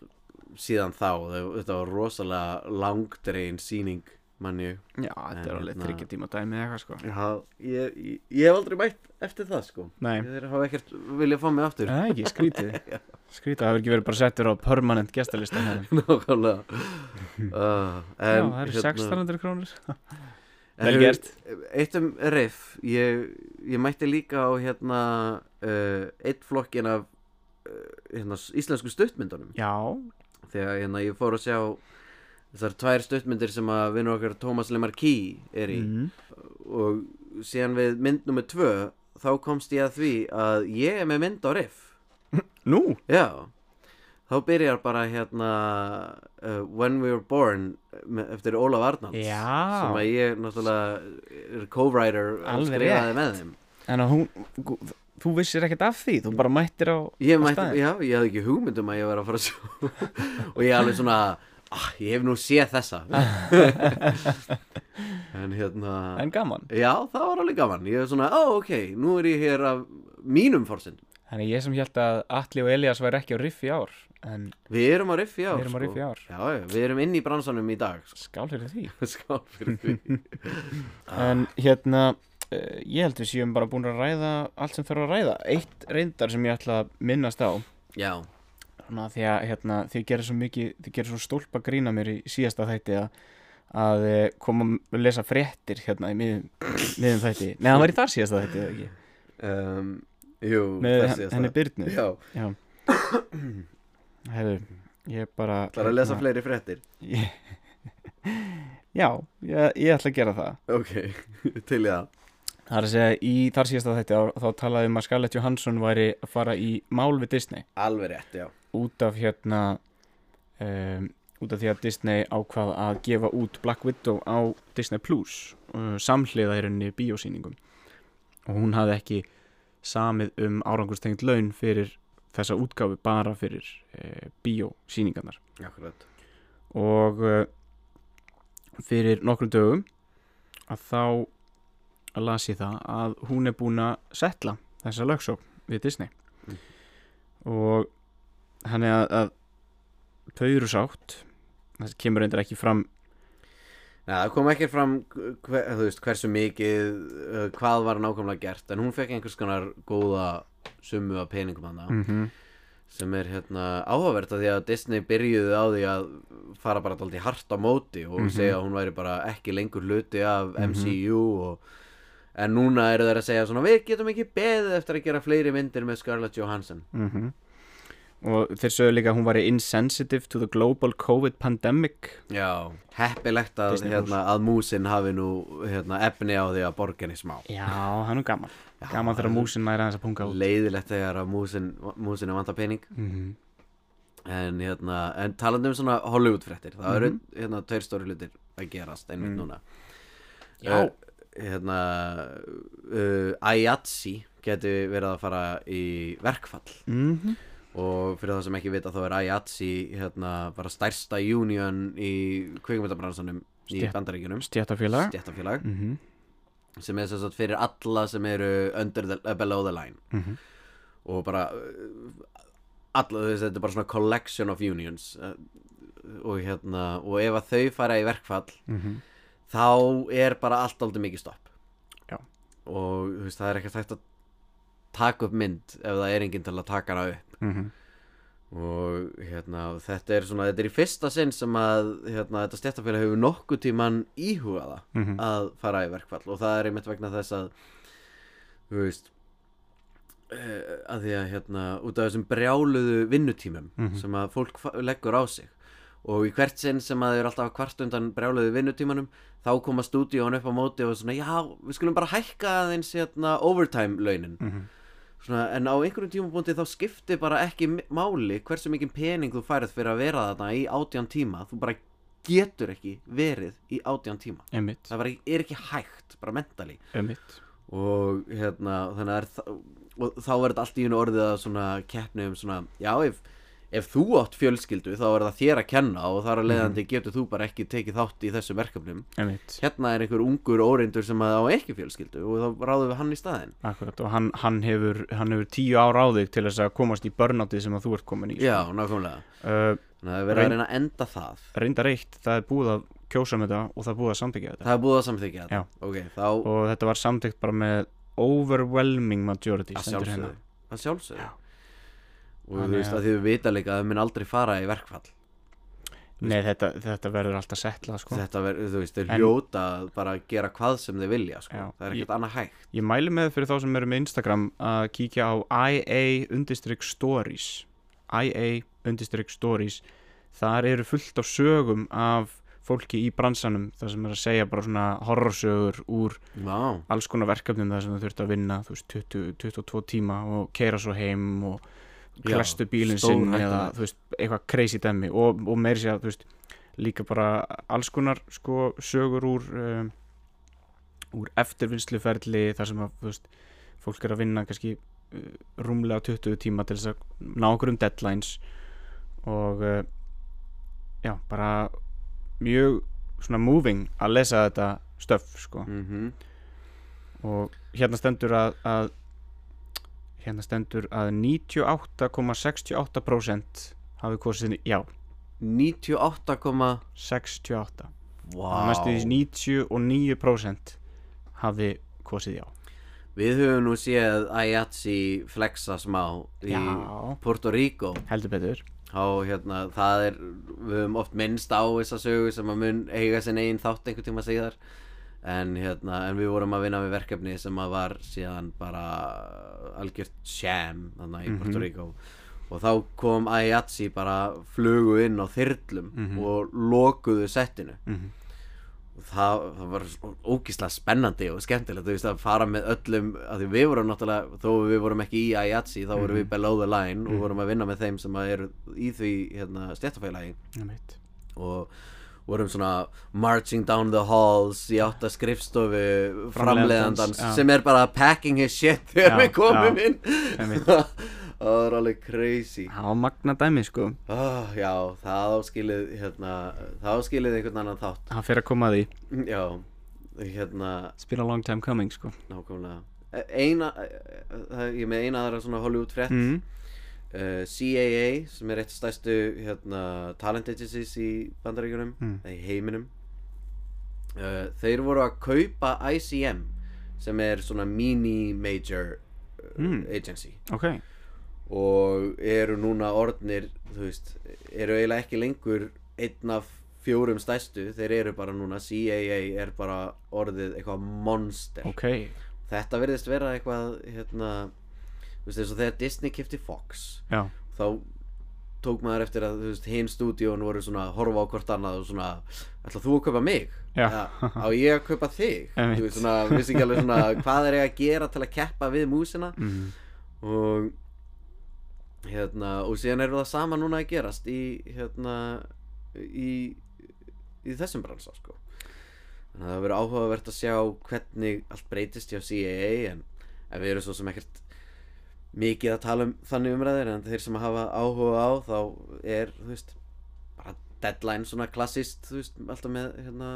S2: síðan þá þau, þetta var rosalega langdrein sýning manni
S1: já þetta er
S2: En
S1: alveg
S2: hérna-
S1: þryggja tíma dæmi eða eitthvað sko
S2: Já, ég, ég, ég hef aldrei mætt eftir það sko
S1: Nei,
S2: Þeir hafa ekkert viljað fá mig aftur
S1: það er ekki, skrítið Skrítið, það hefur ekki verið bara settur á permanent gestalista hérna.
S2: Nákvæmlega uh,
S1: Já,
S2: en,
S1: það eru 600 krónur
S2: en
S1: Vel
S2: eru-
S1: gert.
S2: Eitt um riff Ég, ég mætti líka á hérna uh, Eitt flokkin af uh, hérna, s- íslensku stuttmyndunum
S1: Já,
S2: Þegar hérna, ég fór að sjá Þessar tvær stuttmyndir sem að vinur okkar Thomas Lemarquis er í
S1: mm.
S2: Og síðan við mynd nummer tvö Þá komst ég að því að ég er með mynd á riff
S1: nú
S2: Já, þá byrjar bara hérna uh, When We Were Born me- eftir Ólaf Arnalds sem
S1: Já,
S2: að ég náttúrulega er co-writer og
S1: Alveg
S2: skrifaði með þeim
S1: en að hún Þú vissir ekkert af því, þú bara mættir á
S2: Ég,
S1: á
S2: mætti,
S1: staðinn.
S2: já, ég hafði ekki hugmynd um að ég var að fara að sjá og ég alveg svona ah, ég hef nú séð þessa en hérna
S1: En gaman
S2: já, það var alveg gaman ég er svona, ó ok, nú er ég hér af mínum forsendum
S1: Þannig ég sem held að Atli og Elias væri ekki á riff í ár En
S2: við erum á riff í ár
S1: við erum á riff í ár
S2: já, sko. já, við erum inn í bransanum í dag sko.
S1: Skál fyrir því
S2: skál fyrir því Ah.
S1: En hérna, uh, ég held við séum bara búin að ræða allt sem þarf að ræða Eitt reyndar sem ég ætla að minnast á
S2: já,
S1: Þannig að því að hérna, þið gerir svo mikið, þið gerir svo stólpa grína mér í síðasta þætti að, að eh, koma að lesa fréttir hérna í miðum, miðum þætti. Nei, það var í þar síðasta þætti, eða ekki?
S2: um, Jú,
S1: Með
S2: það
S1: henni,
S2: séast
S1: henni
S2: það
S1: Byrnu.
S2: Já,
S1: Já. Herru, ég bara...
S2: það er að lesa
S1: hérna,
S2: fleiri fréttir
S1: Ég, já, ég, ég ætla að gera það.
S2: Ok, til í það
S1: Það er að segja, í þar síðasta þætti þá, þá talaði um að Scarlett Johansson væri að fara í mál við Disney
S2: Alveg rétt, já
S1: út af hérna... Um, út af því að Disney ákvað að gefa út Black Widow á Disney Plus uh, samhliða í rauninni bíósýningum og hún hafði ekki samið um árangurstengt laun fyrir þessa útgáfi bara fyrir uh, bíósýningarnar
S2: Akkurat
S1: og uh, fyrir nokkrum dögum að þá las ég það að hún er búin að setla þessa lögsók við Disney
S2: Mm.
S1: og hann er að, að þau eru sátt það kemur reyndar ekki fram
S2: Nei, það kom ekki fram, hver, þú veist, hversu mikið, uh, hvað var nákvæmlega gert En hún fekk einhvers konar góða summu af peningum hana
S1: -hmm.
S2: Sem er hérna áhugavert að því að Disney byrjuði á því að fara bara daldi hart á móti Og
S1: Mhm.
S2: segja að hún væri bara ekki lengur hluti af
S1: Mhm.
S2: MCU og En núna eru þeir að segja svona, við getum ekki beðið eftir að gera fleiri myndir með Scarlett Johansson.
S1: og þeir sögðu líka að hún var insensitive to the global COVID pandemic
S2: Já, heppilegt að,
S1: Disney
S2: hérna, að músin hafi nú hérna, efni á því að borga henni smá
S1: já, hann er gaman
S2: Já,
S1: gaman þegar músin næra þess að punga út
S2: Leiðilegt þegar að músin, músin er vantar pening
S1: mm -hmm.
S2: En, hérna, en talandi um svona Hollywood-fréttir Það eru
S1: Mhm.
S2: hérna, tveir stóri hlutir að gerast einmitt
S1: Mm.
S2: núna
S1: Já.
S2: Eh, Hérna, uh, Ayatsi geti verið að fara í verkfall
S1: Mm
S2: Og fyrir það sem ekki vita þá er Ayatsi hérna, bara stærsta union í kvikmyndabransanum í
S1: Stétt-
S2: bandaríkjunum
S1: stjættafélag
S2: Stjættafélag
S1: mm -hmm.
S2: sem er sem sagt fyrir alla sem eru under the, uh, below the line
S1: Mm -hmm.
S2: og bara uh, alla, þess, þetta er bara svona collection of unions uh, og hérna og ef að þau fara í verkfall þá er bara allt aldrei mikið stopp
S1: Já.
S2: og þú veist, það er ekkert hægt að taka upp mynd ef það er enginn til að taka hana upp og hérna þetta er svona, þetta er í fyrsta sinn sem að hérna, þetta stjættafélag hefur nokkuð tíman íhugaða að fara í verkfall og það er einmitt vegna þess að þú veist eh, að því að hérna út af þessum brjáluðu vinnutímum
S1: Mhm.
S2: sem að fólk fa- leggur á sig og í hvert sinn sem að þau eru alltaf að kvart undan brjáluðu vinnutímanum þá koma stúdíón upp á móti og svona já, við skulum bara hækka aðeins hérna overtime launin svona, en á einhverjum tímabúndi þá skiptir bara ekki mi- máli hversu mikið pening þú færið fyrir að vera þarna í átján tíma þú bara getur ekki verið í átján tíma
S1: Emmitt,
S2: það bara er ekki hægt, bara mentali
S1: emmitt
S2: og hérna þannig að er þa- og þá er þetta allt í einu orðið að svona keppni um svona já ef, ef þú átt fjölskyldu þá er það þér að kenna og
S1: Mhm.
S2: þar að leiðandi getur þú bara ekki tekið þátt í þessum verkefnum
S1: Emmitt,
S2: hérna er einhver ungur óreindur sem að á ekki fjölskyldu og þá ráðum við hann í staðinn
S1: akkurat og hann, hann, hefur, hann hefur tíu ára á þig til þess að komast í börnáttið sem að þú ert komin í sko.
S2: já, nákvæmlega
S1: uh,
S2: Sko. þannig að það er verið
S1: Reyn-
S2: að reyna að enda það
S1: Reyndar eitt, það er búið að kjósa um þetta og það er búið að samþykja þetta
S2: það er búið að samþykja
S1: Já.
S2: þetta ok, þá
S1: og þetta var samþykt bara með overwhelming majority
S2: að
S1: stendur hérna.
S2: sjálfsögðu að sjálfsögðu
S1: Já.
S2: og
S1: Þannig
S2: þú veist
S1: að-
S2: að þið vita líka að þau mun aldrei fara í verkfall
S1: Nei, þetta, þetta verður alltaf settlað sko.
S2: þetta verður, þú veist, þeir
S1: En-
S2: hljóta að bara gera hvað sem þeir vilja, sko,
S1: Já.
S2: það er ekkert annað hægt
S1: Ég mæli með fyrir þá sem eru með Instagram að kíkja á IA-stories IA-stories Þar eru fullt af sögum af fólki í bransanum þar sem er að segja bara svona horrorsögur úr
S2: Já,
S1: alls konar verkefnum þar sem þú þurft að vinna þú veist, 20, 22 tíma og keira svo heim og
S2: Já,
S1: klestu bílinn sinn eða
S2: stórhættulegt.
S1: þú veist, eitthvað crazy dæmi og, og meiri sér að þú veist líka bara alls konar sko sögur úr um, úr eftirvinnsluferli þar sem að þú veist, fólk er að vinna kannski uh, rúmlega 20 tíma til þess að ná okkur um deadlines og uh, já, bara mjög svona moving að lesa þetta stöf sko
S2: mm
S1: og hérna stendur að, að hérna stendur að 98,68% hafi kosið já,
S2: 98, komma-
S1: 68
S2: Vá.
S1: wow. mestu því 99% hafi kosið já
S2: Við höfum nú séð Ayatsi flexa smá í
S1: Já.
S2: Puerto Rico
S1: heldur betur
S2: Há, hérna, það er, við höfum oft minnst á þessa sögu sem að mun eiga sinn eigin þátt einhvern tíma síðar en, hérna, en við vorum að vinna með verkefni sem að var síðan bara algjört sham þannig í Puerto Rico og þá kom Ayatsi bara flugu inn á þyrlum og lokuðu settinu
S1: Mhm.
S2: og það, það var svo ógeðslega spennandi og skemmtilegt þú veist að fara með öllum að því við vorum náttúrulega, þó við vorum ekki í Ayatsi þá
S1: Mhm.
S2: vorum við below the line og vorum að vinna með þeim sem að eru í því hérna, stjættafélagi
S1: Einmitt.
S2: og vorum svona marching down the halls í átta skrifstofu framleiðandans
S1: já.
S2: sem er bara packing his shit þegar
S1: Já,
S2: við komum
S1: já.
S2: inn
S1: Einmitt.
S2: það er alveg crazy
S1: það var magna dæmi sko
S2: oh, já, það áskilið hérna, það áskilið einhvern annan þátt
S1: hann fer að koma að því,
S2: já, hérna
S1: it's been a long time coming sko
S2: nákvæmlega E- eina, e- e- það- ég er með eina aðra svona Hollywood frétt
S1: mm.
S2: uh, CAA sem er eitt stærstu hérna, talent agencies í bandaríkjunum
S1: Mm.
S2: eða í heiminum uh, þeir voru að kaupa ICM sem er svona mini-major uh,
S1: Mm.
S2: agency
S1: ok,
S2: og eru núna orðnir þú veist, eru eiginlega ekki lengur einn af fjórum stærstu þeir eru bara núna, CAA er bara orðið eitthvað monster
S1: ok
S2: þetta verðist vera eitthvað hérna, þú veist, eins og þegar Disney kipti Fox
S1: já,
S2: þá tók maður eftir að þú veist, hinn stúdíón voru svona að horfa á hvort annað og svona, ætla þú að kaupa mig?
S1: Já.
S2: Eða, á ég að kaupa þig?
S1: Einmitt.
S2: Þú veist svona, vissi ekki alveg svona hvað er ég að gera til að keppa við músina
S1: mm.
S2: og hérna, og síðan eru það sama núna að gerast í hérna í, í þessum bransa sko þannig að það verður áhugavert að sjá hvernig allt breytist hjá CAA en, en við erum svo sem ekkert mikið að tala um þannig umræðir en þeir sem hafa áhuga á þá er þú veist bara deadline svona klassist þú veist alltaf með hérna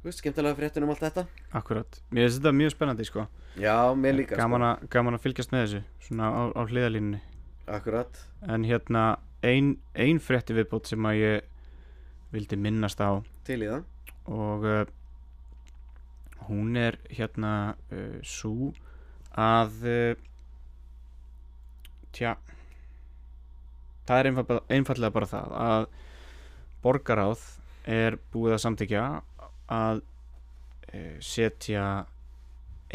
S2: þú veist skemmtilega fréttin um allt þetta
S1: akkurat mér finnst þetta mjög spennandi sko
S2: já mér líka
S1: gaman, að, gaman að fylgjast með þessu svona á, á hliðalínunni
S2: sko akkurat
S1: En hérna ein, ein frétti viðbót sem að ég vildi minnast á
S2: til í það
S1: og uh, hún er hérna uh, svo að uh, tja það er einfallega, einfallega bara það að borgaráð er búið að samtykja að uh, setja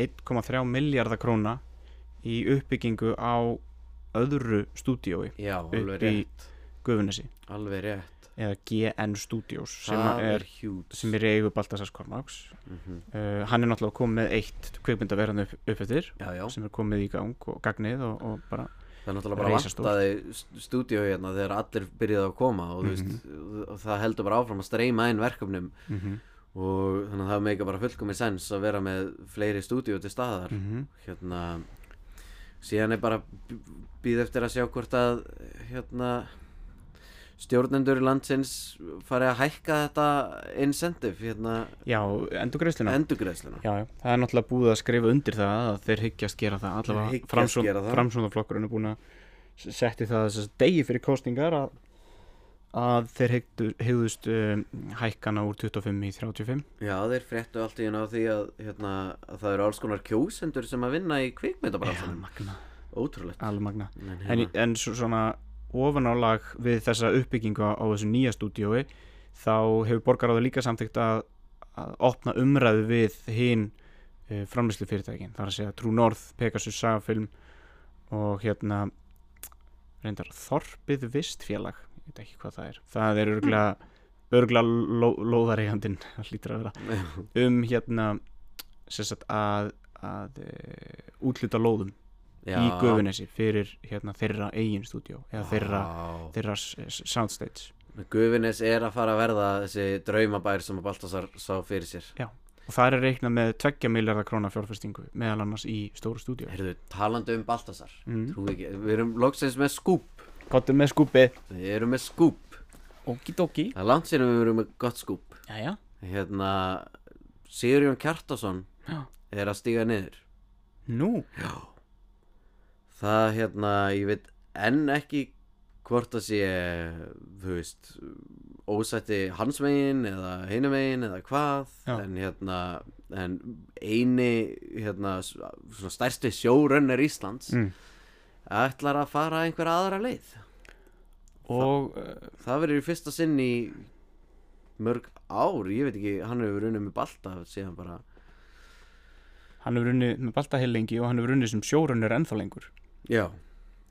S1: 1,3 miljardar króna í uppbyggingu á öðru stúdiói
S2: Já,
S1: upp í-
S2: alveg rétt
S1: Guðunnesi
S2: Alveg rétt
S1: eða GN Studios sem
S2: Það
S1: er,
S2: er hjút
S1: sem er í eigu Baltasars Kormáks
S2: Mhm.
S1: uh, hann er náttúrulega komið með eitt kveikmyndaverðan upp, upp eftir
S2: Já, já
S1: sem er komið í gang og gagnið og, og bara
S2: Það er náttúrulega bara
S1: Risastórt.
S2: vantaði st- stúdíó hérna þegar allir byrjaði að koma og, mm
S1: Mhm.
S2: veist, og það heldur bara áfram að streyma inn verkefnum
S1: mm -hmm.
S2: og þannig að það meika bara fullkomin sens að vera með fleiri stúdíó til staðar
S1: Mm
S2: hérna síðan er bara býð eftir að sjá hvort að hérna stjórnendur landsins fari að hækka þetta incentive hérna
S1: Já, endur greiðsluna
S2: endurgreðsluna
S1: Já, já, það er náttúrulega búið að skrifa undir það að þeir hyggjast gera það
S2: Þeir
S1: allavega
S2: hyggjast
S1: framsón,
S2: gera það.
S1: framsónaflokkurinn er búin að s- setti það þess að degi fyrir kostingar að, að þeir hyggdu, hyggðust um, hækkana úr 25 í 35
S2: Já, þeir fréttu allt í hérna á því að, hérna, að það eru alls konar kjósendur sem að vinna í kvikmyndabransunum
S1: magna
S2: Ótrúlegt
S1: Almagna
S2: en,
S1: En,
S2: hérna,
S1: en svo- svona ofanálag við þessa uppbyggingu á, á þessu nýja stúdiói þá hefur borgaráðu líka samþygt að, að opna umræðu við hinn uh, framlýslu fyrirtækin þar að segja True North, Pegasus Sagafilm og hérna reyndar Þorpið Vistfélag ég veit ekki hvað það er það er örgulega, örgulega ló, lóðareigandinn það hlýtur að vera um hérna sem sagt að, að uh, útluta lóðum
S2: já,
S1: í Guðunessi fyrir hérna, þeirra eigin stúdíó eða þeirra,
S2: Já.
S1: þeirra s- s- soundstage
S2: Gufunes er að fara að verða þessi draumabær sem að Baltasar sá fyrir sér
S1: og það er reiknað með 2 miljardar krónar fjárfestingu meðal annars í stóru stúdíó
S2: Heyrðu, talandi um Baltasar
S1: mm.
S2: Trúi ekki, við erum loksins með skúp
S1: Kottum með skúpi
S2: Við erum með skúp
S1: Okidoki
S2: Það er langt sér við erum með gott skúp
S1: Jæja
S2: Hérna, Sigurjón Kjartason
S1: Já.
S2: er að stíga niður
S1: Nú
S2: Já Það hérna, ég veit enn ekki hvort það sé, þú veist, ósætti hans megin eða hinu megin eða hvað
S1: Já.
S2: En hérna, en eini, hérna, s- svona stærsti sjórunner Íslands
S1: mm.
S2: Ætlar að fara einhverja aðra leið
S1: Og uh,
S2: Það verður í fyrsta sinn í mörg ár, ég veit ekki, hann hefur runnið með balta síðan bara
S1: hann hefur runnið með baltaheilingi og hann hefur runnið sem sjórunnur ennþá lengur
S2: Já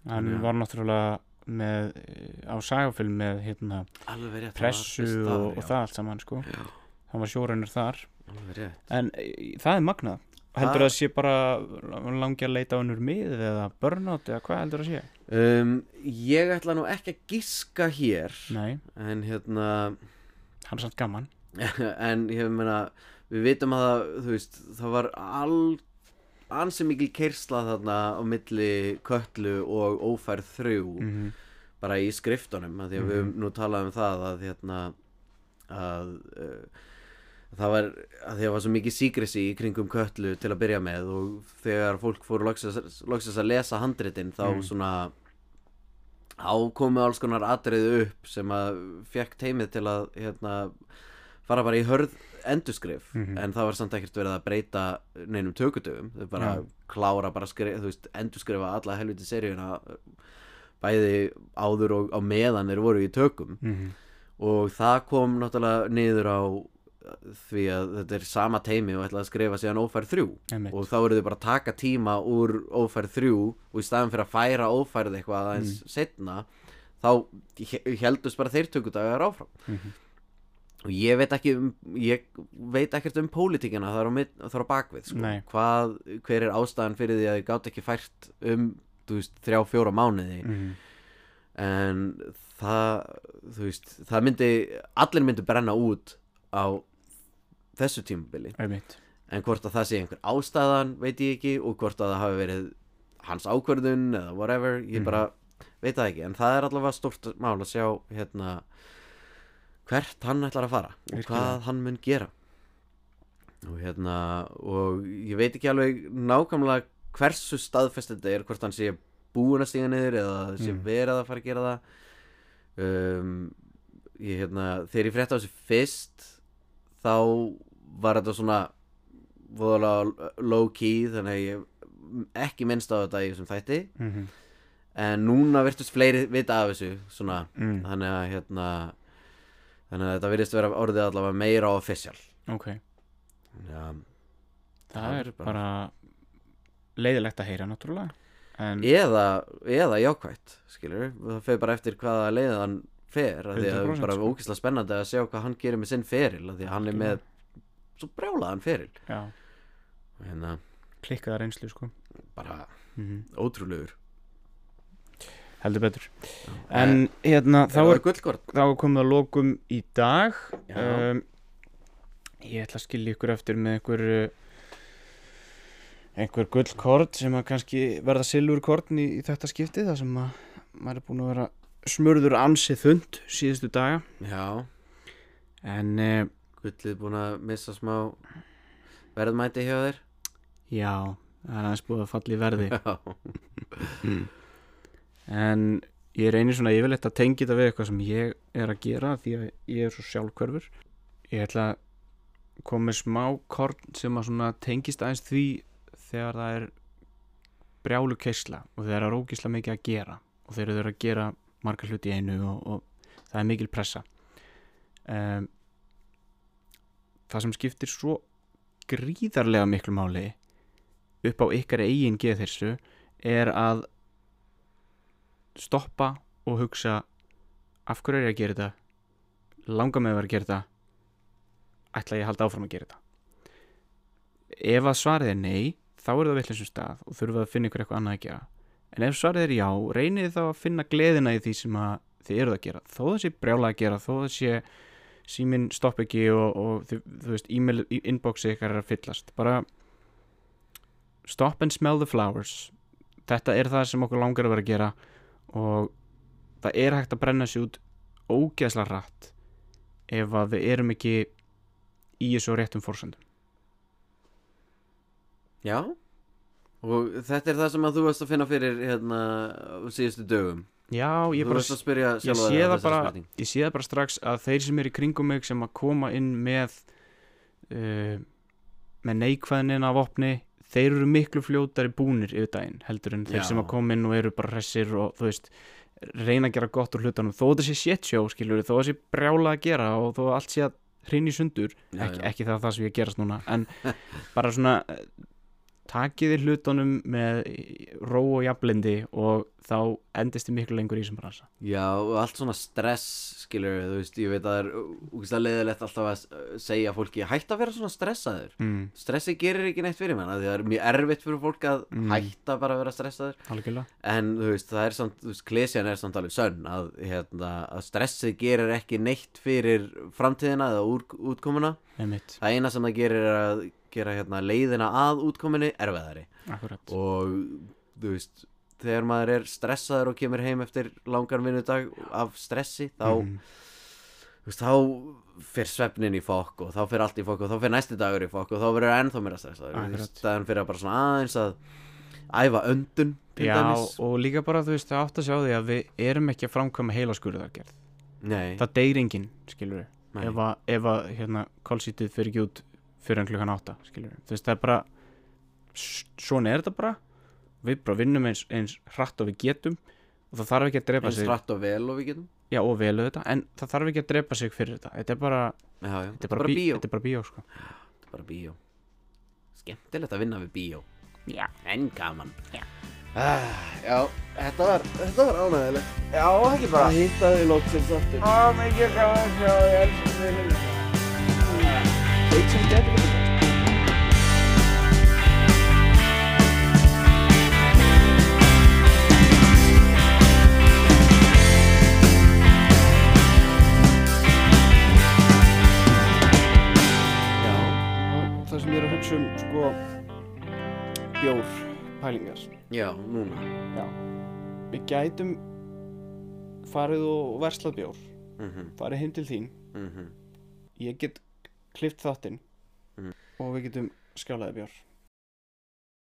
S1: Hann
S2: Já.
S1: var náttúrulega með, eh, á sagafilm með hérna,
S2: Alveg rétt hann var
S1: pressu
S2: fyrst þar,
S1: og, og
S2: já.
S1: það allt saman sko.
S2: Já.
S1: Hann var sjórunnur þar
S2: Alveg rétt
S1: En e, það er magnað Heldur það að sé bara langi að leita á unnur mið eða burnout eða hvað heldur það að sé?
S2: Um, ég ætla nú ekki að giska hér
S1: Nei,
S2: en hérna
S1: hann er samt gaman
S2: en ég meina við vitum að það, þú veist, það var all, ansi mikil keirsla þarna á milli köllu og ófærð þrjú
S1: -hmm.
S2: bara í skriftunum að því að við höfum
S1: Mhm.
S2: nú talað um það að hérna að uh, það var að því að var svo mikið síkrisi í kringum köllu til að byrja með og þegar fólk fóru loksins loksins að lesa handritin þá
S1: Mm.
S2: svona ákomu alls konar atriði upp sem að fekk teimið til að hérna fara bara í hörð endurskrif
S1: Mhm.
S2: en það var samt ekkert verið að breyta neinum tökutöfum þau bara
S1: Já.
S2: klára bara skrif, þú veist, endurskrifa alla helviti seríuna bæði áður og á meðan þeir voru í tökum
S1: Mm -hmm.
S2: og það kom náttúrulega niður á því að þetta er sama teimi og ætla að skrifa síðan ófærð þrjú
S1: Einmitt.
S2: og þá eru þau bara að taka tíma úr ófærð þrjú og í staðan fyrir að færa ófærð eitthvað aðeins
S1: Mhm.
S2: mm. setna þá he- heldust bara þeir tökudagar áfram
S1: Mhm.
S2: og ég veit ekki um, ég veit ekkert um pólitíkina þar á, mið, þar á bakvið sko.
S1: Nei.
S2: hvað, hver er ástæðan fyrir því að þið gátt ekki fært um þú veist, þrjá, fjóra mánuði
S1: Mm -hmm.
S2: en það, þú veist það myndi, allir myndi brenna út á þessu tímabili
S1: Einmitt
S2: en hvort að það sé einhver ástæðan veit ég ekki og hvort að það hafi verið hans ákvörðun eða whatever ég
S1: Mhm.
S2: bara veit það ekki en það er allavega stórt mál að sjá hérna hvert hann ætlar að fara og
S1: Virkilega.
S2: hvað hann mun gera og hérna og ég veit ekki alveg nákvæmlega hversu staðfest þetta er hvort hann sé búin að stíga niður eða það sé
S1: Mhm.
S2: verið að fara að gera það um, ég hérna þegar ég frétta á þessu fyrst þá var þetta svona voðalega low key þannig að ég ekki minnst á þetta í þessum þætti
S1: mm -hmm.
S2: en núna virtust fleiri vita af þessu svona,
S1: mm.
S2: þannig að hérna þannig að þetta virðist vera orðið allavega meira official
S1: Ok,
S2: ja.
S1: það er bara leiðilegt að heyra náttúrulega En
S2: eða, eða jákvætt skilur, það fer bara eftir hvaða leiðan hann fer, af því að það er
S1: 100%
S2: bara
S1: sko.
S2: ókislega spennandi að sjá hvað hann gerir með sinn feril, af því að hann er með svo brjálaðan feril
S1: já,
S2: hérna,
S1: klikkaða reynslu sko
S2: bara
S1: mm
S2: ótrúlegur
S1: heldur betur en hérna þá er
S2: Eh, gullkorn
S1: þá er komið að lokum í dag
S2: Já.
S1: um, ég ætla að skilja ykkur eftir með einhver uh, einhver gullkort sem að kannski verða silfurkorn í, í þetta skipti þar sem að maður er búin að vera smurður ansið þund síðustu daga
S2: Já,
S1: en uh,
S2: gullið búin að missa smá verðmæti hjá þér
S1: já, það er aðeins búið að falla í verði
S2: Já,
S1: en ég reynir svona yfirleitt að tengja þetta við eitthvað sem ég er að gera því að ég er svo sjálfhverfur ég ætla að koma með smá korn sem að svona tengist aðeins því þegar það er brjálu keisla og þeir eru rókisla mikið að gera og þeir eru að gera margar hluti í einu og, og það er mikil pressa um, það sem skiptir svo gríðarlega miklu máli upp á ykkar eigin geðhersu er að stoppa og hugsa af hverju er ég að gera þetta langar mig að vera að gera þetta ætla ég að halda áfram að gera þetta ef að svarið er nei þá er það vitleysum stað og þurfum að finna ykkur eitthvað annað að gera en ef svarið er já, reynið þá að finna gleðina í því sem að þið eruð að gera þó það sé brjála að gera, þó það sé síminn stopp ekki og, og þú, þú veist, e-mail, inboxi ykkar er að fyllast bara stop and smell the flowers þetta er það sem okkur langar að vera að gera og það er hægt að brenna sér út ógeðslega rætt ef að við erum ekki í þessu á réttum fórsöndum
S2: já Og þetta er það sem að þú varst að finna fyrir hérna á síðustu dögum
S1: Já, ég,
S2: Þú
S1: bara,
S2: varst að spyrja
S1: ég,
S2: sjálfa
S1: sé
S2: þig að
S1: það
S2: þessari
S1: bara,
S2: spurning.
S1: ég sé það bara strax að þeir sem eru í kringum mig sem að koma inn með uh, með neikvæðnin af opni þeir eru miklu fljótari búnir yfir daginn heldur en þeir
S2: Já.
S1: sem að koma inn og eru bara hressir og þú veist reyna að gera gott úr hlutunum þó þetta sé shit show skilur þó það sé brjála að gera og þó allt sé að hrinni sundur
S2: Já,
S1: ekki,
S2: já.
S1: ekki það, það sem ég að gerast núna en bara svona eh, takiði hlutunum með eh, ró og jafnblindi og þá endist þið miklu lengur í sem bransa
S2: Já, og allt svona stress, skilur við, þú veist, ég veit að það er úkislega leiðilegt alltaf að s- segja fólki hætt að vera svona stressaður.
S1: mm,
S2: Stressi gerir ekki neitt fyrir manna, því það er mjög erfitt fyrir fólk að
S1: Mm.
S2: hætta bara að vera stressaður.
S1: algjörlega
S2: En þú veist, það er samt, þú veist, klesjan er samt alveg sönn að, hérna, að stressið gerir ekki neitt fyrir framtíðina eða úr, útkomuna.
S1: einmitt,
S2: Það eina sem það gerir er að gera hérna, leiðina að útkominni erfiðari
S1: akkurat
S2: og þú veist þegar maður er stressaður og kemur heim eftir langan vinnudag af stressi þá,
S1: Mhm.
S2: þú veist, þá fer svefnin í fokk og þá fer allt í fokk og þá fer næsti dagur í fokk og þá verður ennþá meira stressaður Þú veist,
S1: Akkurat.
S2: staðan fyrir að bara svona aðeins að æfa öndun til
S1: já
S2: dæmis
S1: og líka bara þú veist það átt að sjá því að við erum ekki að framkvæma heila skurðargerð
S2: Nei,
S1: það deyr enginn skilur við
S2: nei,
S1: ef að, ef að hérna, kólsítið fyrir ekki út fyrir en klukkan átta skilur við þú veist það er bara s- svona er þetta bara við bara vinnum eins, eins hratt og við getum og það þarf ekki að drepa
S2: eins
S1: sig
S2: rætt og vel og við getum
S1: já og velu þetta en það þarf ekki að drepa sig fyrir þetta þetta er bara,
S2: já, já.
S1: þetta er bara, bí,
S2: bíó,
S1: þetta er bara bíó sko.
S2: Þetta er bara bíó. skemmtilegt að vinna við bíó
S3: Já.
S2: en gaman
S3: Já.
S2: ah, já þetta var, þetta var ánægilegt já, ekki bara að hitta þau loksins aftur
S3: Ó, mikið gaman að sjá þig, elsku mig líka.
S2: Eitt sem gæti verið betra.
S1: og það sem ég er að hugsa um sko bjór pælingar
S2: Já, núna
S1: við gætum farið og verslað bjór
S2: Mhm,
S1: farið heim til þín
S2: mhm.
S1: ég get klift þáttinn
S2: Mm.
S1: Mhm. og við getum skjálaði bjór